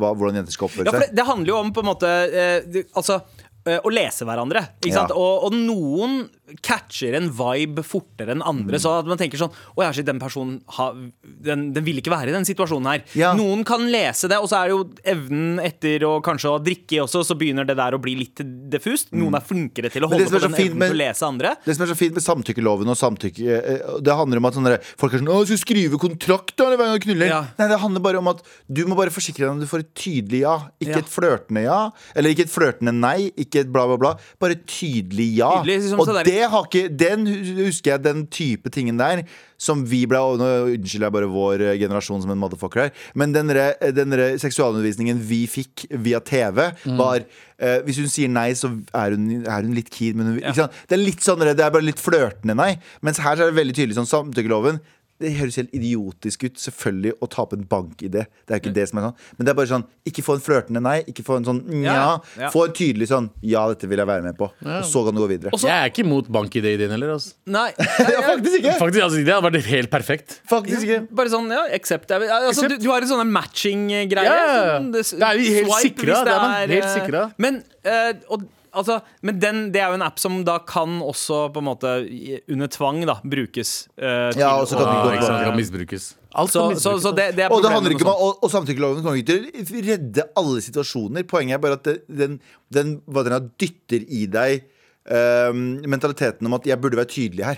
Speaker 3: hva, hvordan jenter skal
Speaker 4: Ja,
Speaker 3: oppføre
Speaker 4: for
Speaker 3: seg.
Speaker 4: det, det handler jo om på en måte eh, det- Altså eh, å lese hverandre. Ikke
Speaker 3: Ja.
Speaker 4: sant? Og, og noen catcher en vibe fortere enn andre.
Speaker 3: Mm.
Speaker 4: Så at man tenker sånn Å, jeg ser den personen har- den, den vil ikke være i den situasjonen her.
Speaker 3: Ja.
Speaker 4: Noen kan lese det, og så er det jo evnen etter å kanskje å drikke også, så begynner det der å bli litt diffust. Noen er flinkere til å
Speaker 3: Mm. Men det som
Speaker 4: holde på
Speaker 3: er så
Speaker 4: den
Speaker 3: fint
Speaker 4: evnen
Speaker 3: med-
Speaker 4: til å lese andre.
Speaker 3: Det som er så fint med samtykkeloven og samtykke eh, eh, Det handler om at sånne, der- folk er sånn 'Å, jeg skal skrive kontrakt da, hver gang jeg knuller'.
Speaker 4: Ja.
Speaker 3: Nei, det handler bare om at du må bare forsikre deg om du får et tydelig ja. Ikke
Speaker 4: Ja.
Speaker 3: et flørtende ja, eller ikke et flørtende nei, ikke et bla, bla, bla. Bare et tydelig ja.
Speaker 4: Tydelig, liksom,
Speaker 3: og
Speaker 4: så der-
Speaker 3: det har ikke Den hu- husker jeg, den type tingen der, som vi ble og Nå unnskylder jeg bare vår eh, generasjon som en motherfucker her, men den derre- den derre seksualundervisningen vi fikk via TV,
Speaker 4: Mm.
Speaker 3: var eh, Hvis hun sier nei, så er hun, er hun litt keen, men hun vil- ikke sant? Det er litt sånn, der, det er bare litt flørtende nei. Mens her så er det veldig tydelig sånn samtykkeloven. Det høres helt idiotisk ut selvfølgelig å tape en bank i det. Det er jo
Speaker 4: Mm.
Speaker 3: ikke det som er sånn. Men det er bare sånn, ikke få en flørtende nei. Ikke få en sånn nja.
Speaker 4: Ja, ja.
Speaker 3: Få en tydelig sånn ja, dette vil jeg være med på. Og så kan du gå videre.
Speaker 4: så-
Speaker 2: Jeg er ikke imot bank-ID-ideen heller. Altså.
Speaker 4: Nei, nei,
Speaker 3: Ja, faktisk ikke!
Speaker 2: Faktisk, altså, Det hadde vært helt perfekt.
Speaker 3: Faktisk ikke.
Speaker 4: Bare sånn, ja, accept. Ja, Altså, du, du har en sånne matching-greier.
Speaker 2: Ja,
Speaker 4: sånn,
Speaker 2: det er vi helt
Speaker 4: swipe
Speaker 2: sikra,
Speaker 4: hvis
Speaker 2: det er man helt
Speaker 4: eh,
Speaker 2: sikra.
Speaker 4: Men, eh, og, altså, men den, det er jo en app som da kan også på en måte i- under tvang da, brukes. eh, til
Speaker 3: Ja, og så kan
Speaker 4: å-
Speaker 3: den
Speaker 2: Ah,
Speaker 3: gå
Speaker 2: ikke sant, det
Speaker 3: på-
Speaker 2: kan misbrukes.
Speaker 4: så, så, så det, det er
Speaker 3: Og, det
Speaker 4: problemet
Speaker 3: handler ikke
Speaker 4: med
Speaker 3: om, å- og, og samtykkeloven kommer ikke til å redde alle situasjoner. Poenget er bare at det, den, den, hva den dytter i deg øhm, mentaliteten om at jeg burde være tydelig her.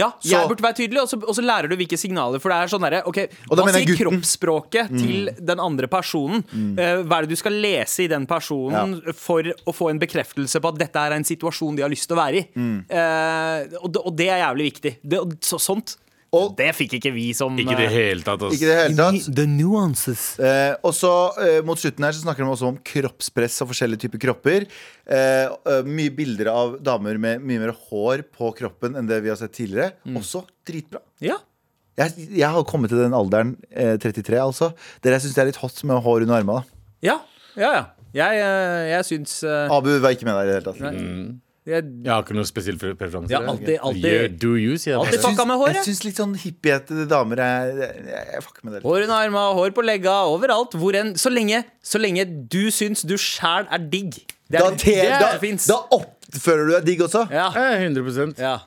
Speaker 4: Ja,
Speaker 3: Så-
Speaker 4: jeg burde være tydelig, og så, og så lærer du hvilke signaler. For det er sånn derre ok,
Speaker 3: Og da
Speaker 4: Hva
Speaker 3: mener
Speaker 4: sier
Speaker 3: jeg gutten. Mm.
Speaker 4: kroppsspråket til den andre personen? Eh, hva er det du skal lese i den personen for å få en bekreftelse på at dette er en situasjon de har lyst til å være i?
Speaker 3: Mm.
Speaker 4: Eh, og, det- og det er jævlig viktig. Det, og så, sånt.
Speaker 3: Og-
Speaker 4: det fikk ikke vi som eh,
Speaker 2: Ikke i det hele tatt. Altså.
Speaker 3: Ikke i det hele tatt.
Speaker 4: The nuances.
Speaker 3: Eh, og så eh, Mot slutten her så snakker de også om kroppspress og forskjellige typer kropper. Eh, eh, mye bilder av damer med mye mer hår på kroppen enn det vi har sett tidligere. Også dritbra.
Speaker 4: Ja.
Speaker 3: Jeg, jeg har kommet til den alderen, eh, 33 altså, der jeg syns det er litt hot med hår under armene.
Speaker 4: Ja, ja. ja. Jeg, eh, jeg syns eh,
Speaker 3: Ah. Abu var ikke med der i det hele tatt.
Speaker 4: Jeg,
Speaker 2: Jeg har ikke noen spesiell pre- preferanse.
Speaker 4: Ja, alltid- alltid-
Speaker 2: Yeah, do you, sier jeg.
Speaker 4: Alltid
Speaker 2: bare.
Speaker 4: fuck. Fucka med håret?
Speaker 3: Jeg syns litt sånn hippiehete damer er jeg, jeg fucker med det. litt.
Speaker 4: hår under arma, hår på legga, overalt. Hvor enn. Så lenge, så lenge du syns du sjæl er digg. Det
Speaker 3: Da,
Speaker 4: er
Speaker 3: te,
Speaker 4: det
Speaker 3: da,
Speaker 4: som fins.
Speaker 3: da oppfører du deg digg også?
Speaker 4: Ja,
Speaker 2: Eh, 100
Speaker 4: ja.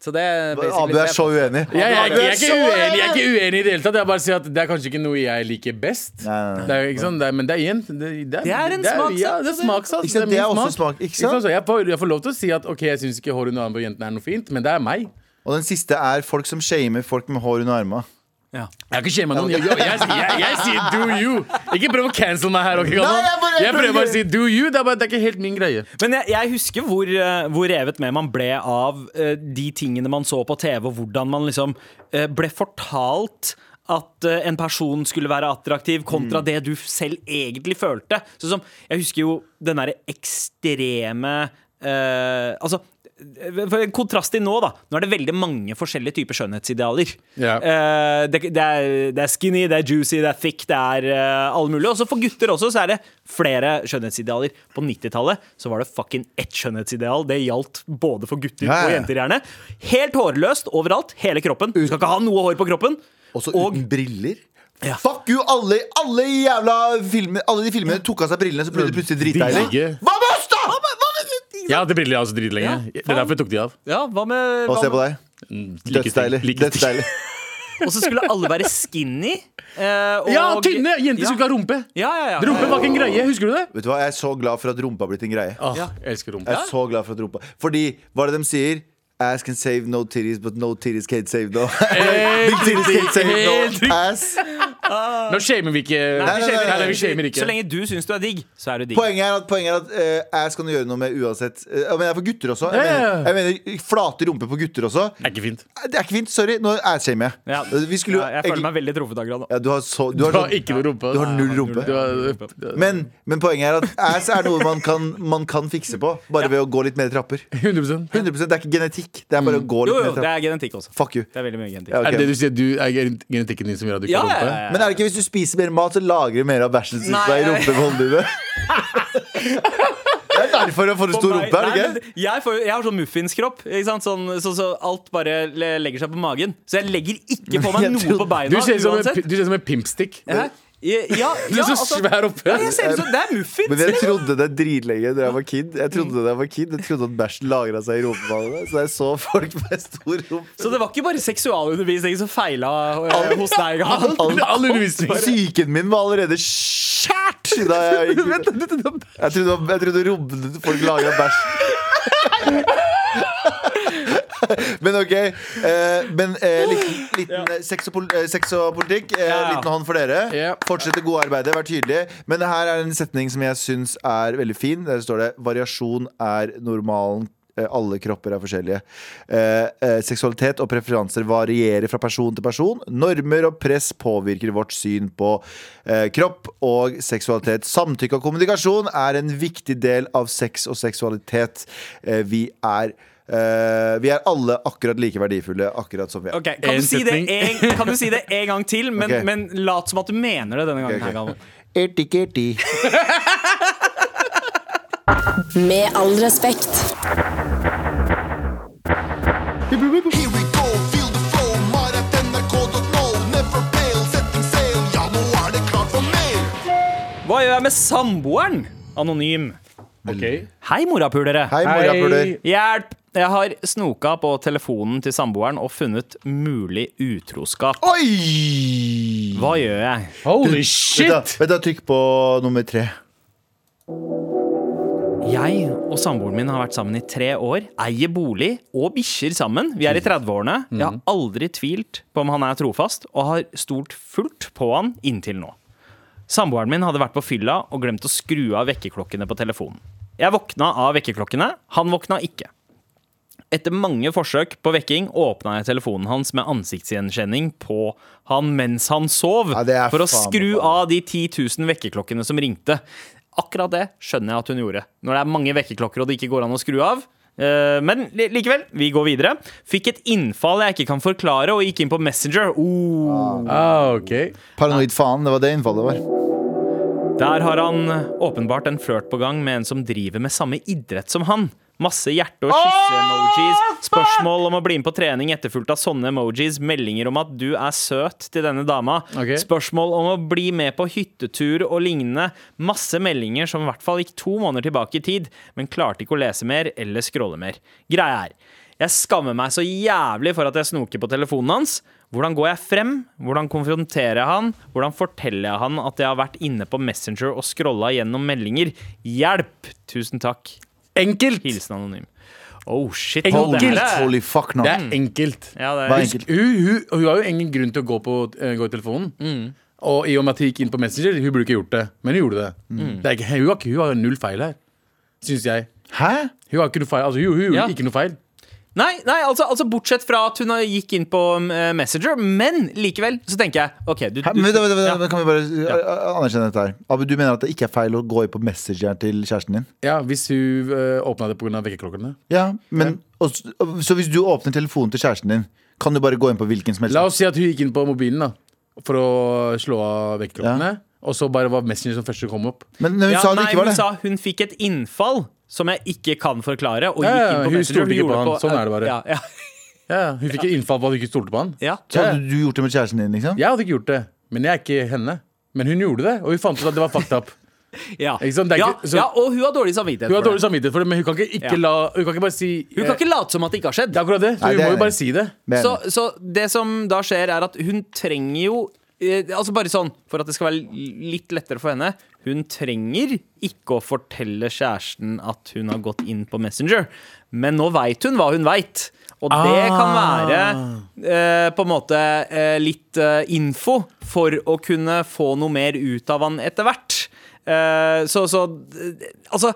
Speaker 4: Så det er
Speaker 3: Abu
Speaker 4: basically
Speaker 3: er så uenig.
Speaker 2: jeg, jeg, er ikke- jeg, er
Speaker 3: Så
Speaker 2: ikke uenig, jeg er ikke uenig i det hele tatt. Jeg bare sier at Det er kanskje ikke noe jeg liker best.
Speaker 3: Nei, nei, nei.
Speaker 2: Det er, ikke sant? Det er, men det er igjen Det,
Speaker 4: Det er en smakssak.
Speaker 2: Ja, det er smaksak.
Speaker 3: Ikke sant? Det er også smak, ikke sant?
Speaker 2: så jeg, får, jeg får lov til å si at Ok, jeg syns ikke hår under armen på jentene er noe fint, men det er meg.
Speaker 3: Og den siste er folk som shamer folk med hår under arma.
Speaker 4: Ja.
Speaker 2: Jeg har ikke shama noen. Jeg, jeg, jeg, jeg, jeg sier do you. Ikke prøv å cancel meg her. ok, Galvan?
Speaker 3: jeg bare-
Speaker 2: jeg prøver bare å si do you. Det er, bare, det er ikke helt min greie.
Speaker 4: Men jeg, jeg husker hvor, eh, hvor revet med man ble av eh, de tingene man så på TV, og hvordan man liksom eh, ble fortalt at eh, en person skulle være attraktiv, kontra det du selv egentlig følte. Sånn som, jeg husker jo den derre ekstreme eh, Altså for en kontrast til nå, da. Nå er det veldig mange forskjellige typer skjønnhetsidealer.
Speaker 2: Ja.
Speaker 4: Eh, det, det, er, det er skinny, det er juicy, det er thick, det er eh, alle mulige. Og så for gutter også, så er det flere skjønnhetsidealer. På 90-tallet så var det fucking ett skjønnhetsideal. Det gjaldt både for gutter
Speaker 3: Ja, ja.
Speaker 4: og jenter, gjerne. Helt hårløst overalt. Hele kroppen. Du skal ikke ha noe hår på kroppen.
Speaker 3: Og så
Speaker 4: Og-
Speaker 3: uten briller.
Speaker 4: Ja.
Speaker 3: Fuck you, alle, alle jævla filmer Alle de filmene tok av seg brillene, så ble de plutselig dritdeilige.
Speaker 2: Digge.
Speaker 3: Hva med oss, da?!
Speaker 2: Jeg hadde briller jeg også dritlenge.
Speaker 4: Ja,
Speaker 2: det er derfor jeg tok de av.
Speaker 4: Ja, hva med
Speaker 3: Og se
Speaker 4: hva
Speaker 3: på
Speaker 4: med-
Speaker 3: deg.
Speaker 2: Like
Speaker 3: Dødsdeilig.
Speaker 2: stil- like stil.
Speaker 3: Dødsdeilig.
Speaker 4: Og så skulle alle være skinny. eh, og,
Speaker 2: Ja, tynne! Jenter
Speaker 4: Ja.
Speaker 2: skulle ikke ha rumpe.
Speaker 4: Ja, ja, ja.
Speaker 2: Rumpe var ikke en greie. Husker du det?
Speaker 3: Vet du hva, Jeg er så glad for at rumpa har blitt en greie.
Speaker 2: Åh,
Speaker 4: Ja.
Speaker 2: Jeg elsker rumpe.
Speaker 3: Jeg er så glad for at rumpa Fordi, hva er det de sier? Ass can save no titties, but no titties can't save no Big titties can't save
Speaker 2: Helt riktig.
Speaker 3: no ass.
Speaker 2: Nå shamer vi ikke.
Speaker 4: Nei,
Speaker 3: nei, nei,
Speaker 2: Nei, vi
Speaker 4: Så,
Speaker 2: shamer ikke.
Speaker 4: lenge du syns du er digg, så er du digg.
Speaker 3: Poenget er at, poenget er at eh, ass kan du gjøre noe med uansett. Eh, men det er for gutter også. Jeg
Speaker 2: Ja, ja, ja.
Speaker 3: mener, jeg mener flate rumper på gutter også.
Speaker 2: Det er ikke fint.
Speaker 3: Eh, Det er ikke fint. Sorry, nå ass-shamer jeg.
Speaker 4: Ja.
Speaker 3: Vi skulle jo
Speaker 4: ja, jeg føler meg veldig truffet av Gran.
Speaker 3: ja, du har så Du har,
Speaker 2: Du har
Speaker 3: sånn-
Speaker 2: ikke noe rumpe.
Speaker 3: du har null rumpe.
Speaker 2: Du har- du har-
Speaker 3: Men, men poenget er at ass er noe man kan, man kan fikse på, bare ved å gå litt mer trapper.
Speaker 2: 100
Speaker 3: 100% Det er ikke genetikk. Det er bare å gå litt
Speaker 4: Mm. Jo, jo,
Speaker 3: mer
Speaker 4: det
Speaker 3: trapper.
Speaker 4: er genetikk også.
Speaker 3: Fuck you.
Speaker 4: Det er veldig mye genetikk.
Speaker 3: Ja, ok.
Speaker 2: Er det det du sier? Du er gen- genetikken din som gjør at du ikke
Speaker 4: Ja,
Speaker 2: har
Speaker 4: ja,
Speaker 2: rumpe?
Speaker 4: ja, ja.
Speaker 3: Men er det ikke hvis du spiser mer mat, så lagrer du mer av bæsjen sin
Speaker 4: Eh, Nei.
Speaker 3: seg i rumpebåndduet? Det er derfor jeg får en
Speaker 4: For
Speaker 3: stor
Speaker 4: meg-
Speaker 3: rumpe, er det
Speaker 4: Nei,
Speaker 3: ikke?
Speaker 4: men Jeg, får, jo- jeg har sånn muffinskropp. ikke sant? Sånn, så, så alt bare le- legger seg på magen. Så jeg legger ikke på meg
Speaker 3: Jeg
Speaker 4: noe
Speaker 3: trodde-
Speaker 4: på beina.
Speaker 2: Du ser ut som en pi-
Speaker 4: uansett.
Speaker 2: du ser ut som en pimpstick.
Speaker 4: Hæ? Ja, ja,
Speaker 2: Du er så
Speaker 4: altså-
Speaker 2: svær oppe.
Speaker 4: Ja, jeg ser ut som, det er
Speaker 3: Men
Speaker 4: muffins! liksom.
Speaker 3: jeg trodde det dritlenge da jeg var kid. Jeg trodde det jeg var kid Jeg trodde at bæsjen lagra seg i rumpeballene. Så jeg så folk med stor rumpe.
Speaker 4: Så det var ikke bare seksualundervisning som feila eh, hos deg. Gahan.
Speaker 2: All all undervisning.
Speaker 3: Psyken min var allerede skjært da jeg gikk ut. Jeg trodde, jeg trodde rumpene til folk lagra bæsj. Men ok. Eh, men eh, liten, liten eh, sex, og pol eh, sex og politikk. Eh,
Speaker 4: Ja.
Speaker 3: Liten hånd for dere.
Speaker 2: Ja.
Speaker 3: Fortsett det gode arbeidet, vær tydelige. Men det her er en setning som jeg syns er veldig fin. Der står det 'Variasjon er normalen'. Eh, Alle kropper er forskjellige. Eh, eh, seksualitet og preferanser varierer fra person til person. Normer og press påvirker vårt syn på eh, kropp og seksualitet. Samtykke og kommunikasjon er en viktig del av sex og seksualitet. Eh, vi er eh, vi er alle akkurat like verdifulle, akkurat som vi er.
Speaker 4: Ok, kan,
Speaker 2: En
Speaker 4: du si det
Speaker 2: setning.
Speaker 4: en, kan du si det en gang til, men,
Speaker 3: Ok.
Speaker 4: men lat som at du mener det denne gangen.
Speaker 3: Ok, ok.
Speaker 4: her, Galvan.
Speaker 3: Erti, kerti.
Speaker 5: Med all respekt.
Speaker 6: Here we go, feel the flow, mar at nrk.no. Never fail, setting sail, ja nå er det klart for mer.
Speaker 4: Hva gjør jeg med samboeren? Anonym.
Speaker 2: Ok.
Speaker 4: Hei, morapulere.
Speaker 3: Hei, morapuler.
Speaker 4: Hjelp! Jeg har snoka på telefonen til samboeren og funnet mulig utroskap.
Speaker 3: Oi!
Speaker 4: Hva gjør jeg?
Speaker 2: Holy
Speaker 3: Vent
Speaker 2: shit!
Speaker 3: da, vent da, trykk på nummer tre.
Speaker 4: Jeg og samboeren min har vært sammen i tre år, eier bolig og bikkjer sammen. Vi er i 30-årene. Jeg har aldri tvilt på om han er trofast, og har stolt fullt på han inntil nå. Samboeren min hadde vært på fylla og glemt å skru av vekkerklokkene på telefonen. Jeg våkna av vekkerklokkene, han våkna ikke. Etter mange forsøk på vekking åpna jeg telefonen hans med ansiktsgjenkjenning på han mens han sov,
Speaker 3: Ja, det er
Speaker 4: for å
Speaker 3: faen meg
Speaker 4: skru
Speaker 3: bra.
Speaker 4: av de 10 000 vekkerklokkene som ringte. Akkurat det skjønner jeg at hun gjorde. Når det er mange vekkerklokker og det ikke går an å skru av. Eh, Men li- likevel, vi går videre. Fikk et innfall jeg ikke kan forklare, og gikk inn på Messenger. Oh.
Speaker 2: Ah, ok.
Speaker 3: Paranoid faen, det var det innfallet var.
Speaker 4: Der har han åpenbart en flørt på gang med en som driver med samme idrett som han. Masse hjerte- og kysse-emojis. Spørsmål om å bli med på trening etterfulgt av sånne emojis. Meldinger om at du er søt til denne dama.
Speaker 2: Ok.
Speaker 4: Spørsmål om å bli med på hyttetur og lignende. Masse meldinger som i hvert fall gikk to måneder tilbake i tid, men klarte ikke å lese mer eller scrolle mer. Greia er, jeg skammer meg så jævlig for at jeg snoker på telefonen hans. Hvordan går jeg frem? Hvordan konfronterer jeg han? Hvordan forteller jeg han at jeg har vært inne på Messenger og scrolla gjennom meldinger? Hjelp! Tusen takk.
Speaker 2: Enkelt!
Speaker 4: Hilsen anonym. Oh shit.
Speaker 2: Enkelt.
Speaker 4: det her er-
Speaker 3: Holy fuck, nå.
Speaker 2: Det er enkelt.
Speaker 4: Ja, det
Speaker 3: Hva
Speaker 4: er
Speaker 3: er
Speaker 2: Hun, hun, hun har jo ingen grunn til å gå, på, eh, gå i telefonen.
Speaker 4: Mm.
Speaker 2: Og i og med at hun gikk inn på Messenger, hun burde ikke gjort det. Men hun gjorde det.
Speaker 4: Mm.
Speaker 2: det er ikke, hun, har ikke, hun har null feil her, syns jeg.
Speaker 3: Hæ?
Speaker 2: Hun har ikke noe feil. Altså, hun, hun gjorde
Speaker 4: Ja.
Speaker 2: ikke noe feil.
Speaker 4: Nei, nei altså, altså bortsett fra at hun gikk inn på eh, Messenger, men likevel så tenker jeg OK, du,
Speaker 3: Hæ?
Speaker 4: du
Speaker 3: Men, vent, vent, vent,
Speaker 4: Ja.
Speaker 3: Kan vi bare uh, anerkjenne dette her? Abu, du mener at det ikke er feil å gå inn på messengeren til kjæresten din?
Speaker 2: Ja, Hvis hun uh, åpna det pga. vekkerklokkene.
Speaker 3: Ja, men og, s- Så hvis du åpner telefonen til kjæresten din, kan du bare gå inn på hvilken som helst?
Speaker 2: La oss si at hun gikk inn på mobilen da for å slå av vekkerklokkene. Og så bare var Messenger som første kom opp.
Speaker 3: Men, men hun
Speaker 4: ja,
Speaker 3: sa det
Speaker 4: nei,
Speaker 3: ikke var
Speaker 4: hun
Speaker 3: det.
Speaker 4: sa hun fikk et innfall som jeg ikke kan forklare, og
Speaker 2: Ja,
Speaker 4: gikk
Speaker 2: ja,
Speaker 4: inn på
Speaker 2: hun
Speaker 4: Messenger.
Speaker 2: stolte ikke
Speaker 4: gjorde
Speaker 2: på han. Sånn er det bare.
Speaker 4: Ja, ja,
Speaker 2: Ja, hun fikk innfall på at hun ikke stolte på han.
Speaker 4: ja.
Speaker 3: Så hadde du gjort det med kjæresten din, liksom?
Speaker 2: Jeg hadde ikke gjort det, men jeg er ikke henne. Men hun gjorde det, og hun fant ut at det var fucked up.
Speaker 4: Ja.
Speaker 2: Ikke sant? Det er
Speaker 4: ja,
Speaker 2: ikke- så-
Speaker 4: ja, og hun har dårlig samvittighet.
Speaker 2: Hun har
Speaker 4: for
Speaker 2: dårlig
Speaker 4: det.
Speaker 2: samvittighet for det, men hun kan ikke, ikke
Speaker 4: Ja.
Speaker 2: la Hun kan ikke bare si
Speaker 4: Hun kan ikke late som at det ikke har skjedd.
Speaker 2: Det er akkurat det. Så
Speaker 3: Nei,
Speaker 2: hun
Speaker 3: det er
Speaker 2: må jo bare
Speaker 3: det.
Speaker 2: si det.
Speaker 3: Men,
Speaker 4: Så, så det som da skjer, er at hun trenger jo eh, Altså bare sånn, For at det skal være l- litt lettere for henne Hun trenger ikke å fortelle kjæresten at hun har gått inn på Messenger. Men nå veit hun hva hun veit. Og det kan være eh, på en måte eh, litt eh, info for å kunne få noe mer ut av han etter hvert. Eh, så så eh, Altså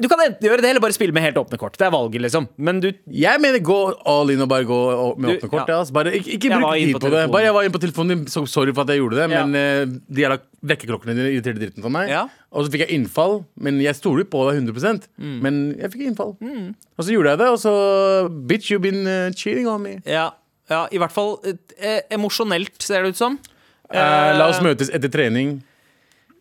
Speaker 4: Du kan enten gjøre det, eller bare spille med helt åpne kort. Det er valget, liksom. Men du
Speaker 2: Jeg mener gå all in og bare gå og- med
Speaker 4: Du,
Speaker 2: åpne kort.
Speaker 4: ja.
Speaker 2: Ja. Altså. Bare, ikke ikke
Speaker 4: Jeg
Speaker 2: bruk
Speaker 4: var inne
Speaker 2: tid
Speaker 4: på
Speaker 2: på, det.
Speaker 4: telefonen.
Speaker 2: Bare jeg var inne på telefonen din, så sorry for at jeg gjorde det,
Speaker 4: Ja.
Speaker 2: men eh, de jævla vekkerklokkene dine irriterte dritten for meg.
Speaker 4: Ja.
Speaker 2: Og så fikk jeg innfall, men jeg stoler på deg 100
Speaker 4: Mm.
Speaker 2: Men jeg fikk innfall. Og så gjorde jeg det, og så Bitch, you've been eh, cheating on me.
Speaker 4: Ja, ja i hvert fall eh, emosjonelt, ser det ut som.
Speaker 2: Eh, la oss møtes etter trening.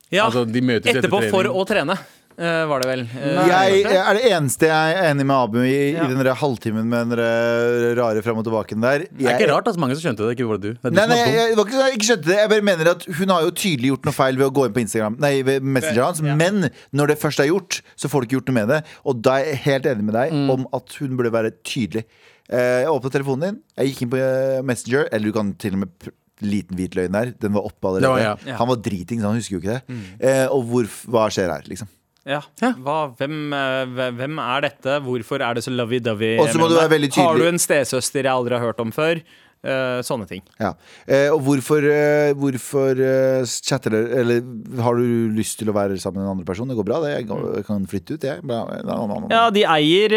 Speaker 4: Ja,
Speaker 2: Altså, de møtes etter
Speaker 4: etterpå
Speaker 2: trening.
Speaker 4: for å trene, eh, var det vel. Eh,
Speaker 3: jeg er det eneste jeg er enig med Abu i, i den der halvtimen med den der rare fram og tilbake der.
Speaker 2: Det er
Speaker 3: Jeg-
Speaker 2: ikke rart at mange som skjønte det. Ikke var det du. Det er du
Speaker 3: Nei,
Speaker 2: som
Speaker 3: nei,
Speaker 2: er dum.
Speaker 3: jeg, jeg, var ikke, jeg ikke skjønte det. Jeg bare mener at Hun har jo tydelig gjort noe feil ved å gå inn på Instagram Nei, ved Messenger hans. Men når det først er gjort, så får du ikke gjort noe med det. Og da er jeg helt enig med
Speaker 4: Mm.
Speaker 3: deg om at hun burde være tydelig. Eh, Jeg åpnet telefonen din, jeg gikk inn på eh, Messenger, eller du kan til og med pr- Liten hvit løgn der. Den var oppe allerede.
Speaker 2: Det var jeg.
Speaker 4: Ja. Mm.
Speaker 3: Han var driting, så han husker jo ikke det. Eh, og hvor, hva skjer her, liksom?
Speaker 4: ja. Hva, hvem, eh, hve- hvem er dette? Hvorfor er det så lovey-dovey?
Speaker 3: Og så må
Speaker 4: mellom
Speaker 3: du være
Speaker 4: deg?
Speaker 3: veldig
Speaker 4: Har du
Speaker 3: tydelig.
Speaker 4: en stesøster jeg aldri har hørt om før? Eh, sånne ting.
Speaker 3: Ja. Eh, og hvorfor, eh, hvorfor eh, chatter dere Eller har du lyst til å være sammen med en andre person? Det går bra, det. Jeg kan- Jeg kan flytte ut, jeg. Bla, bla, bla, bla.
Speaker 4: Ja, de eier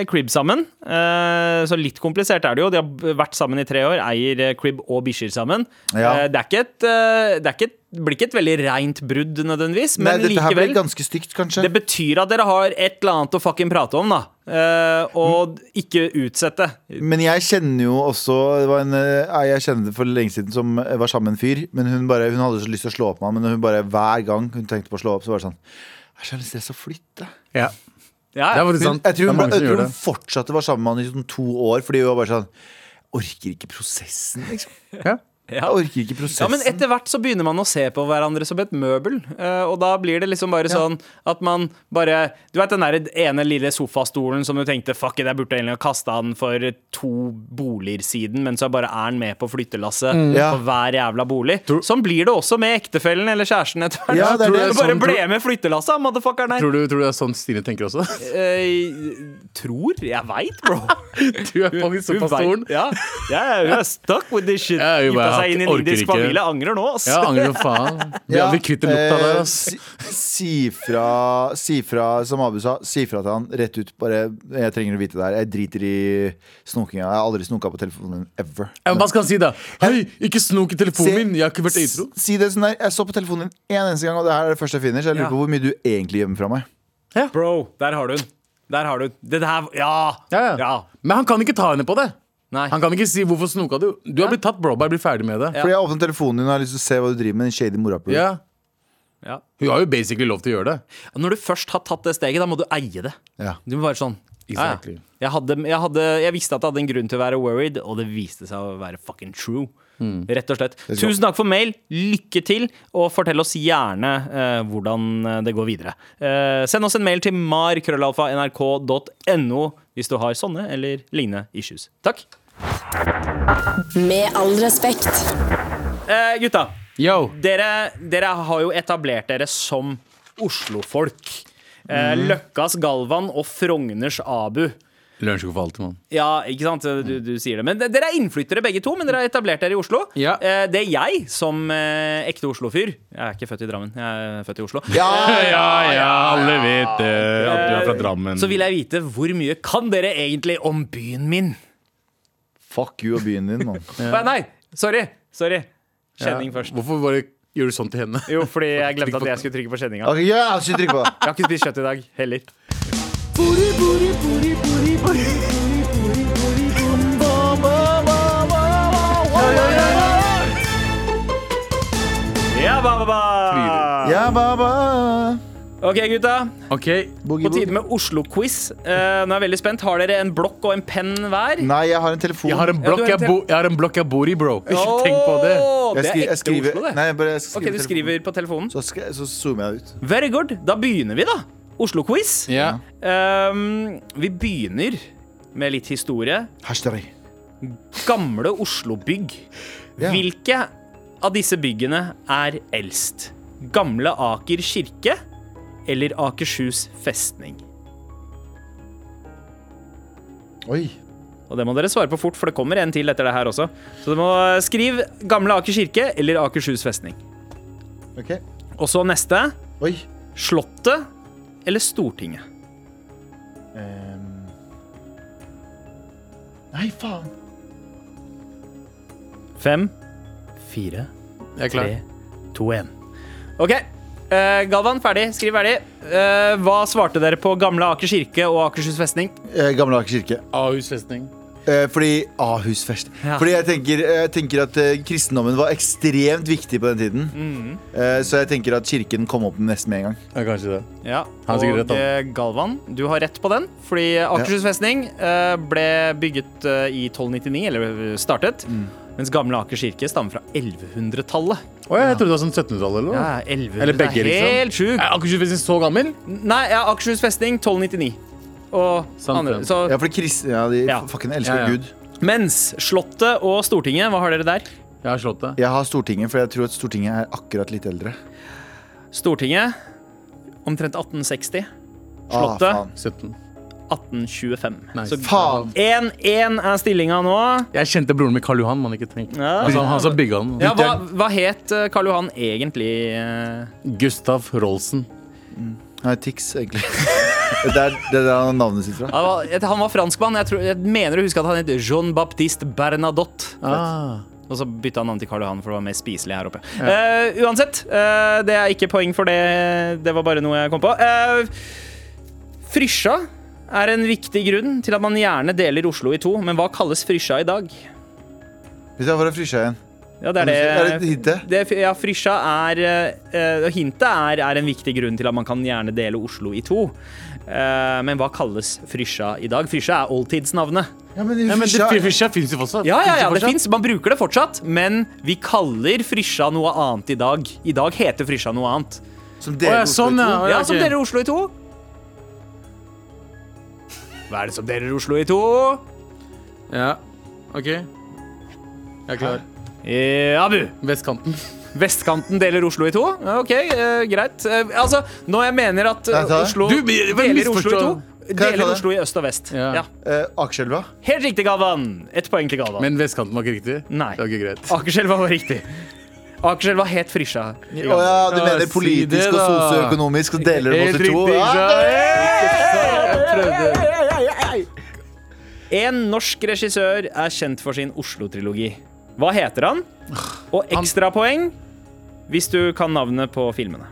Speaker 4: eh, crib sammen, eh, så litt komplisert er det jo. De har b- vært sammen i tre år, eier eh, crib og bikkjer sammen.
Speaker 3: Ja.
Speaker 4: Eh, det, er ikke et, eh, det er ikke et, blir ikke et veldig reint brudd nødvendigvis, men
Speaker 3: Nei, dette her ble
Speaker 4: likevel
Speaker 3: ganske stygt, kanskje.
Speaker 4: Det betyr at dere har et eller annet å fucking prate om, da. Eh, og ikke utsette.
Speaker 3: Men jeg kjenner jo også det var en, eh, Jeg kjenner det for lenge siden som eh, var sammen med en fyr. Men hun, bare, hun hadde så lyst til å slå opp med ham, men hun bare, hver gang hun tenkte på å slå opp, så var det sånn Jeg har så lyst til å flytte.
Speaker 2: Ja.
Speaker 4: Ja,
Speaker 2: Det er faktisk
Speaker 3: Hun,
Speaker 2: sant.
Speaker 3: jeg
Speaker 2: Det
Speaker 3: tror
Speaker 2: er
Speaker 3: hun,
Speaker 2: mange
Speaker 3: jeg
Speaker 2: som gjør
Speaker 3: tror hun
Speaker 2: det.
Speaker 3: fortsatte å være sammen med han i sånn to år, fordi hun var bare sånn Orker ikke prosessen, liksom.
Speaker 2: Ja.
Speaker 3: Jeg orker ikke prosessen.
Speaker 4: ja, men etter hvert så begynner man å se på hverandre som et møbel. eh, og da blir det liksom bare sånn at man bare Du vet den der ene lille sofastolen som du tenkte fuck it, jeg burde egentlig ha kasta den for to boliger siden, men så bare er den med på flyttelasset
Speaker 3: Ja.
Speaker 4: på hver jævla bolig. Sånn blir det også med ektefellen eller kjæresten etter hvert.
Speaker 3: Ja, det er
Speaker 4: Du
Speaker 3: det.
Speaker 4: bare
Speaker 2: Sånn tror-
Speaker 4: ble med flyttelasset, motherfuckeren her.
Speaker 2: Tror, du, tror du det er sånn Stine tenker også?
Speaker 4: Eh, tror? Jeg veit, bro.
Speaker 2: Du er faktisk
Speaker 4: Hun
Speaker 2: såpass
Speaker 4: vet-
Speaker 2: stor.
Speaker 4: Ja, ja, ja, hun er stuck with this shit.
Speaker 2: Ja, hun bare,
Speaker 4: Gifta seg inn i en
Speaker 2: orker
Speaker 4: indisk
Speaker 2: ikke.
Speaker 4: familie, angrer nå, ass.
Speaker 2: Ja, angrer som faen. Vi aldri kvitter lukta der.
Speaker 3: eh,
Speaker 2: ass.
Speaker 3: si, si fra, si fra, som Abu sa, si fra til han rett ut. Bare, jeg trenger å vite det her. Jeg driter i snokinga. Jeg har aldri snoka på telefonen min ever.
Speaker 2: Ja, men Hva skal han si, da? Hei, ikke snok i telefonen min! Jeg har ikke vært
Speaker 3: S-
Speaker 2: øytro.
Speaker 3: Si det sånn der. Jeg så på telefonen din en eneste gang, og det her er det første jeg finner. Så jeg lurer
Speaker 4: Ja.
Speaker 3: på hvor mye du egentlig gjemmer fra meg.
Speaker 4: Bro, der har du den. Der har du den. Det der, ja,
Speaker 2: Ja, ja. Men han kan ikke ta henne på det.
Speaker 4: Nei.
Speaker 2: Han kan ikke si 'hvorfor snoka du'? Du har blitt tatt, bro. Bare bli ferdig med det.
Speaker 4: Ja.
Speaker 3: Fordi jeg åpner telefonen din og har lyst til å se hva du driver med. Den shady morapuler.
Speaker 2: Ja.
Speaker 7: Ja.
Speaker 2: Hun har jo basically lov til å gjøre det.
Speaker 4: Når du først har tatt det steget, da må du eie det.
Speaker 3: Ja.
Speaker 4: Du må være sånn ja,
Speaker 2: Exactly.
Speaker 4: ja. Jeg, hadde, jeg, hadde, jeg visste at jeg hadde en grunn til å være worried, og det viste seg å være fucking true. Rett og slett.
Speaker 3: skal-
Speaker 4: Tusen takk for mail, lykke til, og fortell oss gjerne eh, hvordan eh, det går videre. Eh, send oss en mail til mar.krøllalfa.nrk.no hvis du har sånne eller lignende issues. Takk.
Speaker 8: Med all respekt.
Speaker 4: Eh, gutta,
Speaker 2: Yo!
Speaker 4: dere, dere har jo etablert dere som Oslo-folk. Eh, Løkkas Galvan og Frogners Abu.
Speaker 2: Lunsjko for alltid, mann.
Speaker 4: Ja, ikke sant? Du, du sier det. Men de- dere er innflyttere begge to, men dere har etablert dere i Oslo.
Speaker 2: Ja.
Speaker 4: Eh, det jeg, som eh, ekte Oslo-fyr Jeg er ikke født i Drammen, jeg er født i Oslo.
Speaker 2: Ja, ja, alle vet eh, at du er fra Drammen.
Speaker 4: Så vil jeg vite hvor mye kan dere egentlig om byen min?
Speaker 3: Fuck you og byen din, mann.
Speaker 4: Nei, Nei, sorry! Sorry. Kjenning først.
Speaker 2: Hvorfor bare gjør du sånn til henne?
Speaker 4: Jo, fordi jeg glemte at jeg skulle trykke på kjenninga.
Speaker 3: Ok, ja, så trykk på
Speaker 4: Jeg har ikke spist kjøtt i dag heller. Ja, ba, ba, ba.
Speaker 3: Ja, baba
Speaker 4: Ok, gutta.
Speaker 2: Ok,
Speaker 3: Boogie,
Speaker 4: På
Speaker 3: boogie.
Speaker 4: tide med Oslo-quiz. Eh, nå er jeg veldig spent. Har dere en blokk og en penn hver?
Speaker 3: Nei, jeg har en telefon
Speaker 2: Jeg har en blokk
Speaker 4: du har
Speaker 2: jeg,
Speaker 4: en
Speaker 2: bo, jeg, har en blokk jeg bor i, bro. Ikke tenk på det.
Speaker 4: Åh,
Speaker 3: Jeg
Speaker 4: Det
Speaker 3: skri-
Speaker 4: er
Speaker 3: jeg
Speaker 4: ekte
Speaker 3: skriver-
Speaker 4: Oslo, det.
Speaker 3: Nei, jeg bare jeg
Speaker 4: Ok,
Speaker 3: skriver
Speaker 4: du
Speaker 3: telefonen.
Speaker 4: skriver på telefonen.
Speaker 3: Så, skal, så zoomer jeg ut
Speaker 4: Very good. Da begynner vi, da. Oslo-quiz.
Speaker 2: Ja.
Speaker 4: Ehm, vi begynner med litt historie.
Speaker 3: Hashtag
Speaker 4: Gamle Oslo-bygg.
Speaker 3: Ja.
Speaker 4: Hvilke av disse byggene er eldst? Gamle Aker kirke eller Akershus festning?
Speaker 3: Oi
Speaker 4: Og det må dere svare på fort, for det kommer en til etter det her også. Så du må skrive Gamle Aker kirke eller Akershus festning.
Speaker 3: Ok
Speaker 4: Og så neste.
Speaker 3: Oi
Speaker 4: Slottet eller Stortinget?
Speaker 3: Ehm. Nei, faen
Speaker 4: Fem, fire,
Speaker 2: Jeg er klar.
Speaker 4: tre, to, én. OK. Eh, Galvan, ferdig. Skriv ferdig. Eh, hva svarte dere på Gamle Aker kirke og Akershus festning?
Speaker 3: eh, Gamle Aker kirke
Speaker 2: Ahus festning.
Speaker 3: eh, Fordi Ahus først
Speaker 4: Ja.
Speaker 3: Fordi jeg tenker, jeg tenker at eh, kristendommen var ekstremt viktig på den tiden
Speaker 2: Mm.
Speaker 3: eh, Så jeg tenker at kirken kom opp nesten med en gang
Speaker 2: Ja, kanskje det.
Speaker 4: Ja,
Speaker 2: Han har sikkert
Speaker 4: og
Speaker 2: rett, han.
Speaker 4: eh, Galvan, du har rett på den. Fordi Akershus festning eh, ble bygget eh, i 1299, eller eh, startet.
Speaker 2: Mm.
Speaker 4: Mens Gamle Aker kirke stammer fra 1100-tallet.
Speaker 2: Å, jeg trodde det var sånn 1700-tallet eller noe.
Speaker 4: Ja, 1100
Speaker 2: Eller begge,
Speaker 4: det er
Speaker 2: liksom.
Speaker 4: Helt sjukt.
Speaker 2: Er Akershus festning så gammel?
Speaker 4: Nei, ja, Akershus festning 1299. Og
Speaker 2: Sant
Speaker 4: andre,
Speaker 2: det.
Speaker 4: så
Speaker 3: Ja, fordi kristne, ja, de
Speaker 4: Ja.
Speaker 3: fucking elsker
Speaker 2: Ja, ja.
Speaker 3: Gud
Speaker 4: Mens Slottet og Stortinget, hva har dere der?
Speaker 2: Jeg har slått det.
Speaker 3: Jeg har Stortinget, for jeg tror at Stortinget er akkurat litt eldre
Speaker 4: Stortinget omtrent 1860.
Speaker 3: Ah,
Speaker 4: Slottet.
Speaker 3: faen.
Speaker 2: 17.
Speaker 4: 1825.
Speaker 2: Nice.
Speaker 4: Så
Speaker 3: Faen.
Speaker 4: 1-1 er stillinga nå.
Speaker 2: Jeg kjente broren min Karl Johan, man ikke tenkt.
Speaker 4: Ja.
Speaker 2: Altså, han som bygga den.
Speaker 4: Ja, hva, hva het eh, Karl Johan egentlig? eh?
Speaker 2: Gustav Rolsen.
Speaker 3: Nei, Tix, egentlig Det er det er der han har navnet sitt fra
Speaker 4: Han var, et- han var franskmann. Jeg, tror, jeg mener å huske at han het Jean-Baptiste Bernadotte.
Speaker 2: Ah.
Speaker 4: Og så bytta han navn til Karl Johan, for det var mer spiselig her oppe. Eh, uansett, eh, det er ikke poeng for det. Det var bare noe jeg kom på. Eh, frysja er en viktig grunn til at man gjerne deler Oslo i to, men hva kalles frysja i dag?
Speaker 3: Hvis jeg får en frysja igjen
Speaker 4: Ja, det er
Speaker 3: Er det
Speaker 4: det.
Speaker 3: hinte?
Speaker 4: det ja, frysja er eh, eh, Hintet er, er en viktig grunn til at man kan gjerne dele Oslo i to. Eh, men hva kalles frysja i dag? Frysja er oldtidsnavnet.
Speaker 3: Ja, men,
Speaker 2: Ja, men det
Speaker 3: frysja-
Speaker 2: Fisja fins jo fortsatt.
Speaker 4: Ja, ja, ja, det
Speaker 2: Finnes jo fortsatt.
Speaker 4: finnes, Man bruker det fortsatt, men vi kaller Frysja noe annet i dag. I dag heter Frysja noe annet.
Speaker 2: Å,
Speaker 3: Som deler
Speaker 2: ja,
Speaker 3: Oslo i
Speaker 2: sånn,
Speaker 3: to.
Speaker 2: ja. Å, ja,
Speaker 4: Ja, som
Speaker 2: ok.
Speaker 4: deler Oslo i to. Hva er det som deler Oslo i to?
Speaker 2: Ja. OK. Jeg er klar.
Speaker 4: Eh, Abu.
Speaker 2: Vestkanten.
Speaker 4: Vestkanten deler Oslo i to. Ja, OK, eh, greit. Eh, altså, når jeg mener at eh,
Speaker 3: Kan jeg ta det?
Speaker 4: Oslo
Speaker 2: Du, men- men
Speaker 4: deler Oslo i to
Speaker 2: misforstå.
Speaker 3: ta det?
Speaker 4: Deler Oslo i øst og vest.
Speaker 2: Ja.
Speaker 4: Ja.
Speaker 3: Eh, Akerselva?
Speaker 4: Helt riktig, Galvan. Ett poeng til Galvan.
Speaker 2: Men vestkanten var ikke riktig?
Speaker 4: Nei.
Speaker 2: Det var ikke greit.
Speaker 4: Akerselva var riktig. Akerselva het Frysja.
Speaker 3: Å ja, du
Speaker 2: Ja,
Speaker 3: mener
Speaker 2: si
Speaker 3: politisk
Speaker 2: det,
Speaker 3: og
Speaker 2: da.
Speaker 3: sosioøkonomisk, så deler de oss i to?
Speaker 2: ikke
Speaker 3: Ja.
Speaker 2: sant? Jeg prøvde.
Speaker 4: En norsk regissør er kjent for sin Oslo-trilogi. Hva heter han? Og ekstrapoeng hvis du kan navnet på filmene.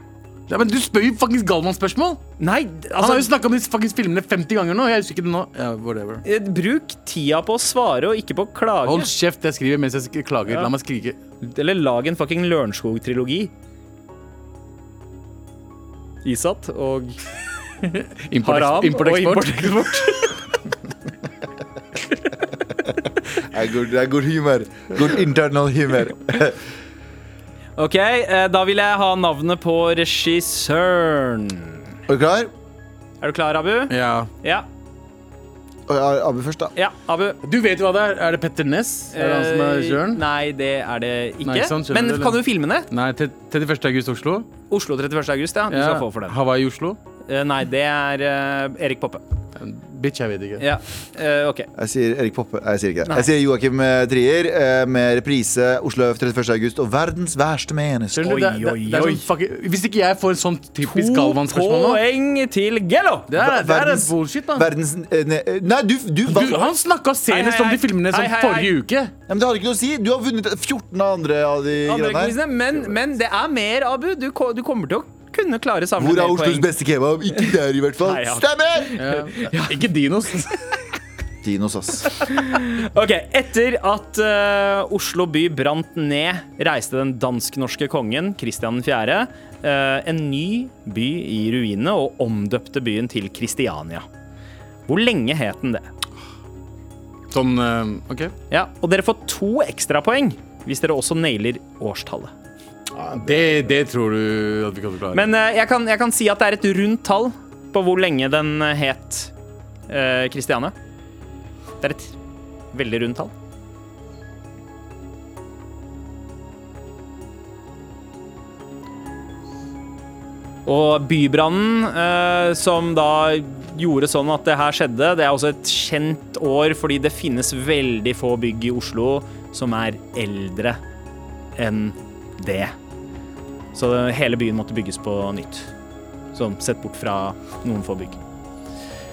Speaker 2: Ja, men du spør jo faktisk Galvan spørsmål!
Speaker 4: Nei, d-
Speaker 2: Han har jo
Speaker 4: altså
Speaker 2: snakka om disse fuckings filmene 50 ganger nå. Jeg husker ikke det nå. Ja, whatever.
Speaker 4: eh, Bruk tida på å svare og ikke på å klage.
Speaker 2: Hold kjeft, jeg skriver mens jeg sk- klager.
Speaker 4: Ja.
Speaker 2: La meg skrike.
Speaker 4: Eller lag en fucking Lørenskog-trilogi.
Speaker 9: ISAT og
Speaker 2: Import,
Speaker 9: haram
Speaker 2: import,
Speaker 9: og
Speaker 2: eksport.
Speaker 9: import-eksport.
Speaker 3: Det er good, det er good humor. Good internal humor.
Speaker 4: Ok, eh, da vil jeg ha navnet på regissøren.
Speaker 3: Er du klar?
Speaker 4: Er du klar, Abu?
Speaker 2: Ja.
Speaker 4: Ja.
Speaker 3: Og jeg- Abu først, da.
Speaker 4: ja Abu.
Speaker 2: Du vet jo hva det er. Er det Petter Ness? Er det han som er regissøren?
Speaker 4: Eh, Nei, det er det ikke.
Speaker 2: Nei, ikke sant, skjønner
Speaker 4: Men
Speaker 2: du, eller?
Speaker 4: kan du filmene?
Speaker 2: Nei, te- 31. august Oslo.
Speaker 4: Oslo 31. august, ja. Du
Speaker 2: Ja.
Speaker 4: skal få for den.
Speaker 2: Hawaii Oslo.
Speaker 4: Eh, Nei, det er eh, Erik Poppe.
Speaker 2: Bitch, jeg vet ikke.
Speaker 4: Ja, eh, ok.
Speaker 3: Jeg sier Erik Poppe. Nei, jeg sier ikke det. Jeg sier Joakim eh, Trier eh, med reprise Oslo 31. august og verdens verste menneske.
Speaker 2: Skjønner du? Det, det, det er
Speaker 9: Oi, oi,
Speaker 2: sånn, fucking- hvis ikke jeg får sånn typisk Galvan-spørsmål nå
Speaker 4: Poeng til Gello!
Speaker 2: Det er, det er
Speaker 3: Verdens-
Speaker 2: bullshit, da.
Speaker 3: Verdens eh, ne, Nei, du, du,
Speaker 2: Du,
Speaker 3: vant-
Speaker 2: han snakka
Speaker 4: Hei,
Speaker 2: senest
Speaker 4: hei,
Speaker 2: om de
Speaker 4: hei.
Speaker 2: filmene som
Speaker 4: Hei, hei, hei.
Speaker 2: forrige uke.
Speaker 3: Ja, men det har ikke noe å si! Du har vunnet 14 av andre av de
Speaker 4: Andre
Speaker 3: greiene her.
Speaker 4: quizene, men, men det er mer, Abu. Du, ko- du kommer til å kunne klare å samle
Speaker 3: Hvor er
Speaker 4: mer
Speaker 3: Oslos
Speaker 4: poeng.
Speaker 3: beste kebab? Ikke der, i hvert fall.
Speaker 4: Nei, ja.
Speaker 3: Stemmer!
Speaker 2: Ikke Dinos.
Speaker 3: Dinos, ass.
Speaker 4: Ok, Etter at eh, Oslo by brant ned, reiste den dansk-norske kongen Kristian 4. eh, en ny by i ruinene og omdøpte byen til Kristiania. Hvor lenge het den det?
Speaker 2: Sånn eh, OK.
Speaker 4: Ja, Og dere får to ekstrapoeng hvis dere også nailer årstallet.
Speaker 2: Det, det tror du at vi kan klare.
Speaker 4: Men eh, jeg, kan, jeg kan si at det er et rundt tall på hvor lenge den eh, het eh, Kristiania. Det er et veldig rundt tall. Og bybrannen, eh, som da gjorde sånn at det her skjedde, det er også et kjent år fordi det finnes veldig få bygg i Oslo som er eldre enn det. Så hele byen måtte bygges på nytt. Sånn sett bort fra noen få bygg.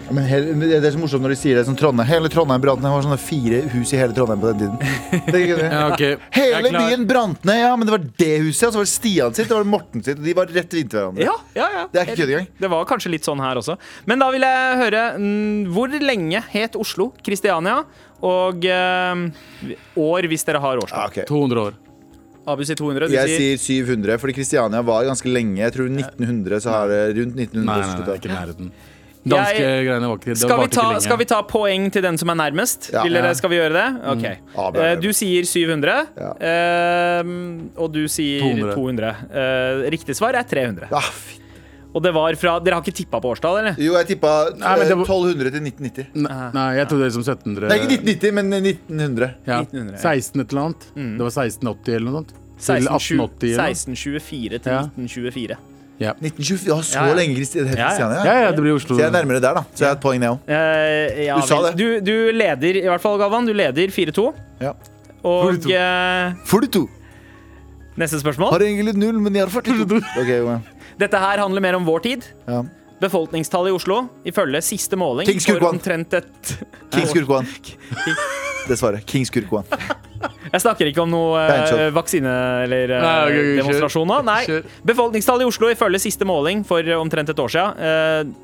Speaker 3: Men hele, men det er så morsomt når de sier det som Trondheim. Hele Trondheim brant ned. Det var sånne fire hus i hele Trondheim på den tiden. Det er ikke det.
Speaker 2: ja, ok. Jeg
Speaker 3: Hele
Speaker 2: er klar.
Speaker 3: byen brant ned, ja, men det var det huset, og så var det Stian sitt, det var det Morten sitt, og de var rett inntil hverandre.
Speaker 4: Ja, ja, ja.
Speaker 3: Det er ikke kødd engang.
Speaker 4: Det var kanskje litt sånn her også. Men da vil jeg høre mm, Hvor lenge het Oslo Kristiania? Og eh, år, hvis dere har
Speaker 3: Ja,
Speaker 4: årstall.
Speaker 3: ok.
Speaker 2: 200 år.
Speaker 4: Abu sier 200. Du
Speaker 3: Jeg
Speaker 4: sier
Speaker 3: sier 700, fordi Kristiania var ganske lenge. Jeg tror 1900, så har det rundt
Speaker 2: Nei,
Speaker 3: 1900
Speaker 2: nei, nei,
Speaker 3: sluttet.
Speaker 2: ikke i nærheten. Danske
Speaker 4: Jeg-
Speaker 2: greiene var ikke det
Speaker 4: skal vi,
Speaker 2: varte
Speaker 4: ta,
Speaker 2: ikke lenge.
Speaker 4: skal vi ta poeng til den som er nærmest?
Speaker 3: Ja.
Speaker 4: Vil
Speaker 3: Ja. Mm.
Speaker 4: dere, skal vi gjøre det? Ok.
Speaker 3: Ja, bra,
Speaker 4: Eh,
Speaker 3: bra.
Speaker 4: Du sier 700,
Speaker 3: Ja.
Speaker 4: eh, og du sier 200.
Speaker 2: 200.
Speaker 4: Eh, Riktig svar er 300.
Speaker 3: Ah, fy-
Speaker 4: Og det var fra Dere har ikke tippa på årstall, eller?
Speaker 3: jo, jeg tippa
Speaker 2: Nei, men det
Speaker 3: eh,
Speaker 2: var-
Speaker 3: 1200 til 1990.
Speaker 2: Nei, nei, jeg trodde det var som 1700.
Speaker 3: Nei, ikke 1990, men 1900.
Speaker 2: Ja.
Speaker 4: 1900, ja. Mm.
Speaker 2: 16 et eller annet. Det var 1680 eller noe sånt. Til 1880 eller noe.
Speaker 4: 1624 til
Speaker 2: Ja.
Speaker 4: 1924.
Speaker 3: 1924, ja, så
Speaker 4: Ja, ja.
Speaker 3: lenge Kristi- det het
Speaker 4: Ja, ja.
Speaker 3: Kristiania.
Speaker 2: Ja, ja, det blir Oslo.
Speaker 3: Så jeg er nærmere der, da. Så jeg har et poeng, jeg òg.
Speaker 4: Eh, ja,
Speaker 3: Du sa
Speaker 4: vel. Du, du leder i hvert fall, Galvan. Du leder 4-2.
Speaker 3: Ja.
Speaker 4: Og
Speaker 3: 4-2.
Speaker 4: eh,
Speaker 3: 42.
Speaker 4: neste spørsmål.
Speaker 3: Har egentlig null, men jeg har 42. Ok, jo, ja.
Speaker 4: Dette her handler mer om vår tid.
Speaker 3: Ja.
Speaker 4: Befolkningstallet i Oslo ifølge siste måling
Speaker 3: King
Speaker 4: for
Speaker 3: Skurkvann.
Speaker 4: omtrent et
Speaker 3: King Skurkoan. Dessverre. King Skurkoan.
Speaker 4: Jeg snakker ikke om noe
Speaker 3: Det er en
Speaker 4: eh,
Speaker 3: joke.
Speaker 4: vaksine eller eh,
Speaker 2: Nei, ok, ok, kjør.
Speaker 4: demonstrasjon nå. Nei.
Speaker 2: Kjør.
Speaker 4: Befolkningstallet i Oslo ifølge siste måling for omtrent et år siden. eh,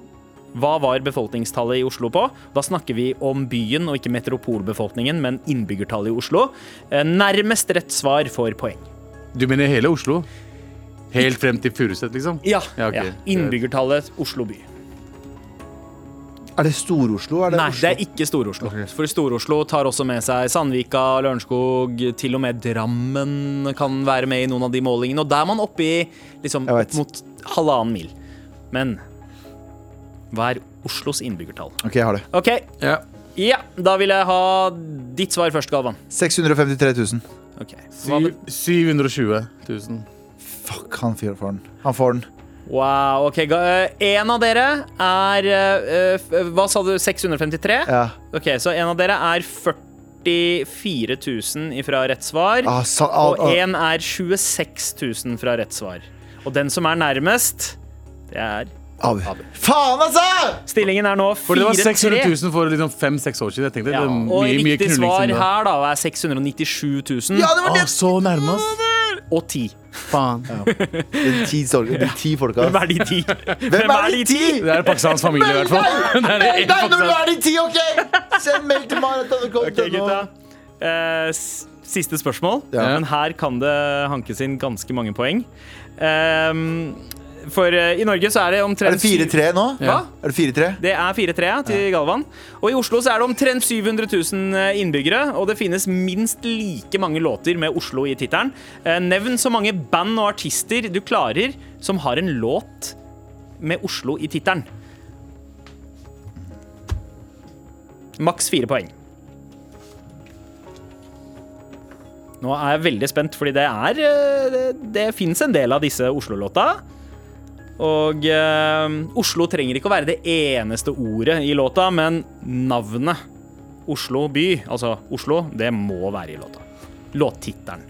Speaker 4: hva var befolkningstallet i Oslo på? Da snakker vi om byen og ikke metropolbefolkningen, men innbyggertallet i Oslo. Eh, Nærmest rett svar får poeng.
Speaker 2: Du mener hele Oslo? Helt frem til Furuset, liksom?
Speaker 4: Ja.
Speaker 2: Ja, ok.
Speaker 4: ja. Innbyggertallet Oslo by.
Speaker 3: Er det Stor-Oslo? Er det
Speaker 4: Nei,
Speaker 3: Oslo?
Speaker 4: det er ikke Stor-Oslo. For Stor-Oslo tar også med seg Sandvika, Lørenskog, til og med Drammen kan være med i noen av de målingene. Og da er man oppe i liksom
Speaker 3: Jeg vet.
Speaker 4: opp mot halvannen mil. Men hva er Oslos innbyggertall?
Speaker 3: Ok, jeg har det.
Speaker 4: OK,
Speaker 2: Ja.
Speaker 4: ja, da vil jeg ha ditt svar først, Galvan.
Speaker 3: 653 000.
Speaker 4: Ok. Hva-
Speaker 2: Syv- 720 000.
Speaker 3: Fuck, han fyren får den. Han får den.
Speaker 4: Wow, ok. ga- eh, En av dere er eh, f- Hva sa du? 653?
Speaker 3: Ja.
Speaker 4: Ok, så en av dere er 44 000 ifra rett svar.
Speaker 3: Ah, sa, ah,
Speaker 4: Og
Speaker 3: ah.
Speaker 4: én er 26 000 fra rett svar. Og den som er nærmest, det er
Speaker 3: Abu. Faen, altså!
Speaker 4: Stillingen er nå
Speaker 2: For det var 600
Speaker 4: 4-3.
Speaker 2: 000 for liksom fem-seks år siden. Jeg tenkte
Speaker 4: Ja,
Speaker 2: det var
Speaker 4: og
Speaker 2: mye, mye
Speaker 4: riktig
Speaker 2: knulling
Speaker 4: svar
Speaker 2: siden da.
Speaker 4: her da er 697 000
Speaker 3: Ja, det var
Speaker 2: Å,
Speaker 3: det!
Speaker 2: så nærme, ass.
Speaker 4: og 10.
Speaker 2: Faen.
Speaker 3: De ti, sol- de ti folka.
Speaker 4: Hvem er de 10?
Speaker 3: Hvem er de ti?
Speaker 2: Det er pakistansk familie, i hvert fall. Det er
Speaker 3: Meld
Speaker 2: en
Speaker 3: deg når du
Speaker 2: pakistansk-
Speaker 3: er de ti, OK? Send mail til maraton.com.
Speaker 4: Ok, gutta. Eh, s- siste spørsmål,
Speaker 3: Ja.
Speaker 4: men her kan det hankes inn ganske mange poeng. Ehm, For eh, i Norge så er det
Speaker 3: Er det
Speaker 4: omtrent
Speaker 3: 4-3 nå?
Speaker 4: Hva?
Speaker 3: Er det 4-3?
Speaker 4: Det er 4-3 ja, til Galvan. Og i Oslo så er det omtrent 700 000 eh, innbyggere, og det finnes minst like mange låter med Oslo i tittelen. Eh, Nevn så mange band og artister du klarer som har en låt med Oslo i tittelen. Maks fire poeng. Nå er jeg veldig spent, fordi det er eh, Det, det fins en del av disse Oslo-låta. Og eh, Oslo trenger ikke å være det eneste ordet i låta, men navnet Oslo by, altså Oslo, det må være i låta. Låttittelen.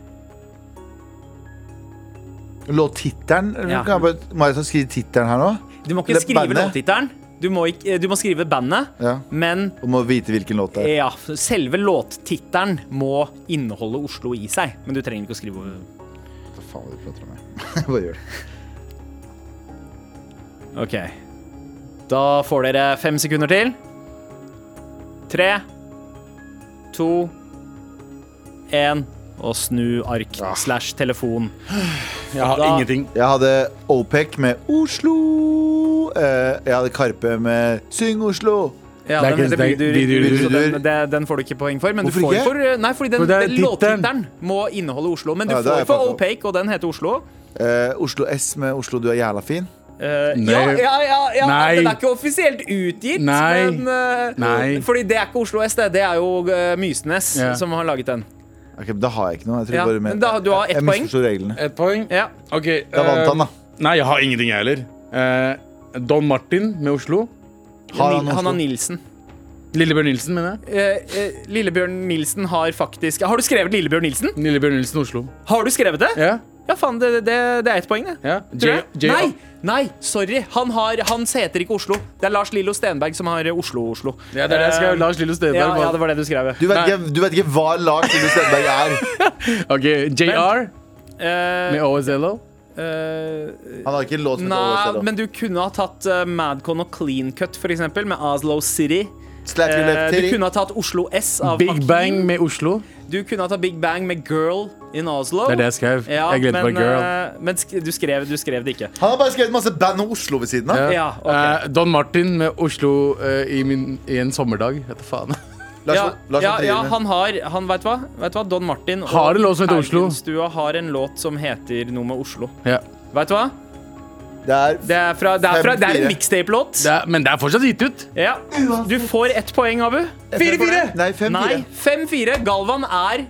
Speaker 3: Låttittelen?
Speaker 4: Ja.
Speaker 3: Kan jeg bare- Marit har skrevet tittelen her nå.
Speaker 4: Du må ikke
Speaker 3: Eller
Speaker 4: skrive
Speaker 3: bandet.
Speaker 4: låttittelen. Du, må ikke- eh, du må skrive bandet,
Speaker 3: Ja.
Speaker 4: men
Speaker 3: Og må vite hvilken låt det er.
Speaker 4: ja, selve låttittelen må inneholde Oslo i seg. Men du trenger ikke å skrive
Speaker 3: Hva faen er det du prater om? jeg? Bare gjør det.
Speaker 4: OK. Da får dere fem sekunder til. Tre, to, én. Og snu ark slash telefon.
Speaker 2: Ah. Jeg har
Speaker 4: Da-
Speaker 2: ingenting.
Speaker 3: Jeg hadde OPEC med Oslo. Eh, Jeg hadde Karpe med Syng Oslo.
Speaker 4: Ja,
Speaker 2: Det er
Speaker 4: den
Speaker 2: ikke-
Speaker 4: heter
Speaker 2: det er-
Speaker 4: Bydur,
Speaker 2: Bydur,
Speaker 4: Bydur, så
Speaker 3: Bydur.
Speaker 4: Den, det- den får du ikke poeng for. Men
Speaker 3: Hvorfor
Speaker 4: du får
Speaker 3: ikke?
Speaker 4: for Nei, fordi den,
Speaker 2: For det er
Speaker 4: den
Speaker 2: tittelen.
Speaker 4: låttittelen må inneholde Oslo. Men du
Speaker 3: Ja, det har
Speaker 4: får
Speaker 3: jeg
Speaker 4: for
Speaker 3: fått opp.
Speaker 4: Opaque, og den heter Oslo.
Speaker 3: Eh, Oslo S med Oslo du er jævla fin.
Speaker 4: Eh,
Speaker 2: Nei.
Speaker 4: ja, ja, ja, ja
Speaker 2: Nei.
Speaker 4: den er ikke offisielt utgitt,
Speaker 2: Nei.
Speaker 4: men eh,
Speaker 2: Nei.
Speaker 4: Fordi det er ikke Oslo S, det. Det er jo eh, Mysnes
Speaker 2: Ja.
Speaker 4: som har laget den.
Speaker 3: Ok, men Da har jeg ikke noe. Jeg, tror
Speaker 4: Ja,
Speaker 3: bare
Speaker 4: men da- du har ett
Speaker 3: jeg
Speaker 4: poeng.
Speaker 3: misforsto reglene.
Speaker 2: Ett poeng.
Speaker 4: Ja.
Speaker 2: Ok,
Speaker 3: Da vant
Speaker 2: eh,
Speaker 3: han, da.
Speaker 2: Nei, jeg har ingenting, jeg heller. Eh, Don Martin med Oslo.
Speaker 3: Har han
Speaker 4: Nil- han har
Speaker 3: Oslo?
Speaker 4: Nilsen.
Speaker 2: Lillebjørn Nilsen, mener jeg.
Speaker 4: Eh, eh, Lillebjørn Nilsen har faktisk Har du skrevet Lillebjørn Nilsen?
Speaker 2: Lillebjørn Nilsen Oslo.
Speaker 4: Har du skrevet det?
Speaker 2: Ja,
Speaker 4: Ja, faen, det, det, det er ett poeng, det.
Speaker 2: ja.
Speaker 4: Tror jeg.
Speaker 2: J- J-
Speaker 4: nei, nei, sorry. Han, har, han heter ikke Oslo. Det er Lars Lillo Stenberg som har Oslo-Oslo.
Speaker 2: Ja, det er det jeg skrev. Lars Lillo Stedberg.
Speaker 4: ja,
Speaker 2: bare-
Speaker 4: ja, det var det du skrev. ja.
Speaker 3: Du vet, ikke, du vet ikke hva Lars Lille Stenberg er.
Speaker 2: Ok, JR
Speaker 4: Eh,
Speaker 2: med OSLO.
Speaker 4: eh,
Speaker 3: Han har ikke en låt som heter
Speaker 4: nei,
Speaker 3: Oslo.
Speaker 4: men du kunne ha tatt eh, Madcon og Clean Cut, for eksempel, med Oslo City.
Speaker 3: Slap your
Speaker 4: Eh,
Speaker 3: left
Speaker 4: du
Speaker 3: titty.
Speaker 4: kunne ha tatt Oslo S av
Speaker 2: Big
Speaker 4: Hakim.
Speaker 2: Bang med Oslo.
Speaker 4: Du kunne ha tatt Big Bang med Girl in Oslo.
Speaker 2: Det er det jeg skrev.
Speaker 4: ja,
Speaker 2: jeg glemte
Speaker 4: men,
Speaker 2: bare girl.
Speaker 4: eh, men sk du, skrev, du skrev det ikke.
Speaker 3: Han har bare skrevet masse band om Oslo ved siden av.
Speaker 2: Ja.
Speaker 4: ja, ok.
Speaker 2: Eh, Don Martin med Oslo eh, i, min, i en sommerdag. Vet du faen.
Speaker 3: Lars,
Speaker 4: Ja,
Speaker 3: Lars von
Speaker 4: ja, ja,
Speaker 3: Trier.
Speaker 4: han har han, vet, du hva? vet du hva? Don Martin og
Speaker 2: Har en låt som heter Oslo.
Speaker 4: Haugenstua har en låt som heter noe med Oslo.
Speaker 2: Ja.
Speaker 4: Vet du hva?
Speaker 3: Det er
Speaker 4: Det er, fra, det er, fra, det er en
Speaker 3: Fem-fire.
Speaker 4: mixtape-låt.
Speaker 2: Det er, men det er fortsatt gitt ut.
Speaker 4: Ja. Du får ett poeng, Abu.
Speaker 3: Nei,
Speaker 4: Nei,
Speaker 3: 5-4.
Speaker 4: 5-4. Galvan er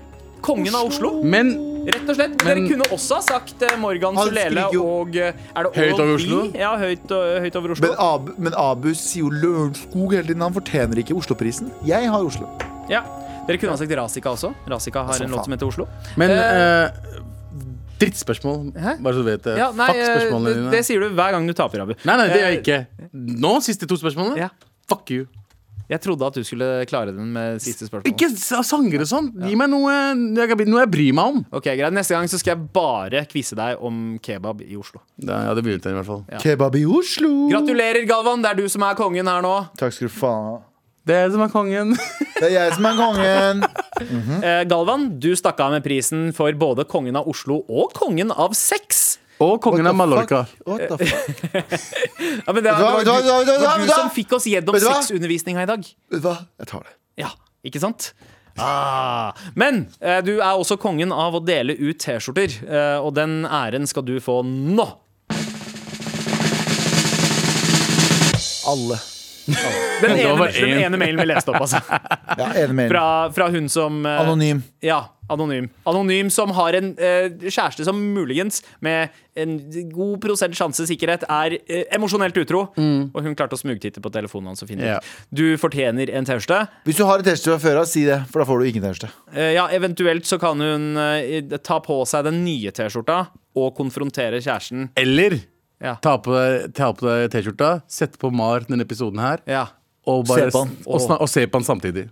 Speaker 4: kongen av Oslo.
Speaker 2: Men
Speaker 4: Rett og slett.
Speaker 2: Men-
Speaker 4: Dere kunne også ha sagt eh, Morgan
Speaker 3: Han
Speaker 4: Solele
Speaker 3: skriker jo
Speaker 4: og eh, Er det
Speaker 2: høyt over
Speaker 4: Oral B?
Speaker 2: Oslo.
Speaker 4: Ja, høyt, eh, høyt over Oslo.
Speaker 3: Men, Ab men Abu sier jo Lørenskog hele tiden. Han fortjener ikke Oslo-prisen. Jeg har Oslo.
Speaker 4: Ja. Dere kunne ha sagt Rasika også. Rasika har
Speaker 3: Altså,
Speaker 4: en låt
Speaker 3: faen.
Speaker 4: som heter Oslo.
Speaker 2: Men
Speaker 4: Eh,
Speaker 2: eh, drittspørsmål.
Speaker 4: Hæ?
Speaker 2: Bare så du vet det.
Speaker 4: Ja, nei,
Speaker 2: Fuck
Speaker 4: eh,
Speaker 2: spørsmålene
Speaker 4: det,
Speaker 2: dine.
Speaker 4: det sier du hver gang du taper, Abu.
Speaker 2: nei, nei, det gjør jeg
Speaker 4: Eh,
Speaker 2: ikke. Nå, siste to spørsmålene.
Speaker 4: Ja.
Speaker 2: Fuck you.
Speaker 4: Jeg trodde at du skulle klare den med siste spørsmål.
Speaker 2: Ikke s- sanger og sånn. Gi meg noe jeg, kan bli- noe jeg bryr meg om.
Speaker 4: Ok, greit. Neste gang så skal jeg bare quize deg om kebab i Oslo.
Speaker 2: Da, ja, det begynte den i hvert fall.
Speaker 3: Kebab i Oslo.
Speaker 4: Gratulerer, Galvan. Det er du som er kongen her nå.
Speaker 3: Takk skal du faen ha.
Speaker 2: Det er som er kongen.
Speaker 3: Det er jeg som er kongen.
Speaker 4: Eh, Galvan, du stakk av med prisen for både kongen av Oslo og kongen av sex.
Speaker 2: Og kongen av
Speaker 3: What the
Speaker 2: Mallorca.
Speaker 3: fuck? What the fuck?
Speaker 4: Ja, men det,
Speaker 3: Vet du hva,
Speaker 4: var,
Speaker 3: vet du hva,
Speaker 4: du,
Speaker 3: vet du hva,
Speaker 4: det var
Speaker 3: vet
Speaker 4: du
Speaker 3: du hva?
Speaker 4: som fikk oss gjedom
Speaker 3: Vet du hva?
Speaker 4: sexundervisninga i dag.
Speaker 3: Vet du hva? Jeg tar det.
Speaker 4: Ja, ikke sant? Ah. Men eh, du er også kongen av å dele ut T-skjorter, eh, og den æren skal du få nå.
Speaker 3: Alle.
Speaker 4: Den
Speaker 2: Det
Speaker 4: ene,
Speaker 2: var
Speaker 4: den
Speaker 2: en.
Speaker 4: ene mailen vi leste opp, altså.
Speaker 3: Ja, enig med
Speaker 4: Fra,
Speaker 3: enig.
Speaker 4: fra hun som eh,
Speaker 3: Anonym.
Speaker 4: Ja, anonym. Anonym som har en eh, kjæreste som muligens, med en god prosent sjansesikkerhet, er eh, emosjonelt utro.
Speaker 3: Mm.
Speaker 4: Og hun klarte å smugtitte på telefonen hans og finne
Speaker 2: Ja.
Speaker 4: ut. Du fortjener en T-skjorte.
Speaker 3: Hvis du har et T-skjorte fra før av, si det, for da får du ingen T-skjorte.
Speaker 4: Eh, ja, eventuelt så kan hun eh, i- ta på seg den nye T-skjorta og konfrontere kjæresten.
Speaker 2: Eller
Speaker 4: Ja.
Speaker 2: ta på deg ta på deg T-skjorta, sette på Mar denne episoden her,
Speaker 4: Ja.
Speaker 2: og, bare,
Speaker 3: Se på han.
Speaker 2: og, sna- og se på han samtidig.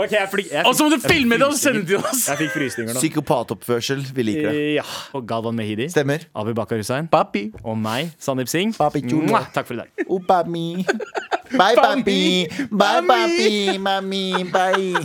Speaker 4: Ok, jeg fly- jeg
Speaker 2: Og så må du
Speaker 4: fikk- jeg
Speaker 2: filme
Speaker 4: fikk
Speaker 2: det og
Speaker 4: frysninger.
Speaker 2: sende det til oss!
Speaker 4: Jeg fikk frysninger nå.
Speaker 3: Psykopatoppførsel. Vi liker det.
Speaker 4: Ja. Og Galvan Mehidi,
Speaker 3: Stemmer.
Speaker 4: Abu Bakar Hussein
Speaker 2: Papi.
Speaker 4: og meg, Sandeep Singh.
Speaker 3: Papi chulo.
Speaker 4: Mwah! Takk for i dag.
Speaker 3: Oh, papi. Bye, papi. Bye, papi. Mami. Bye.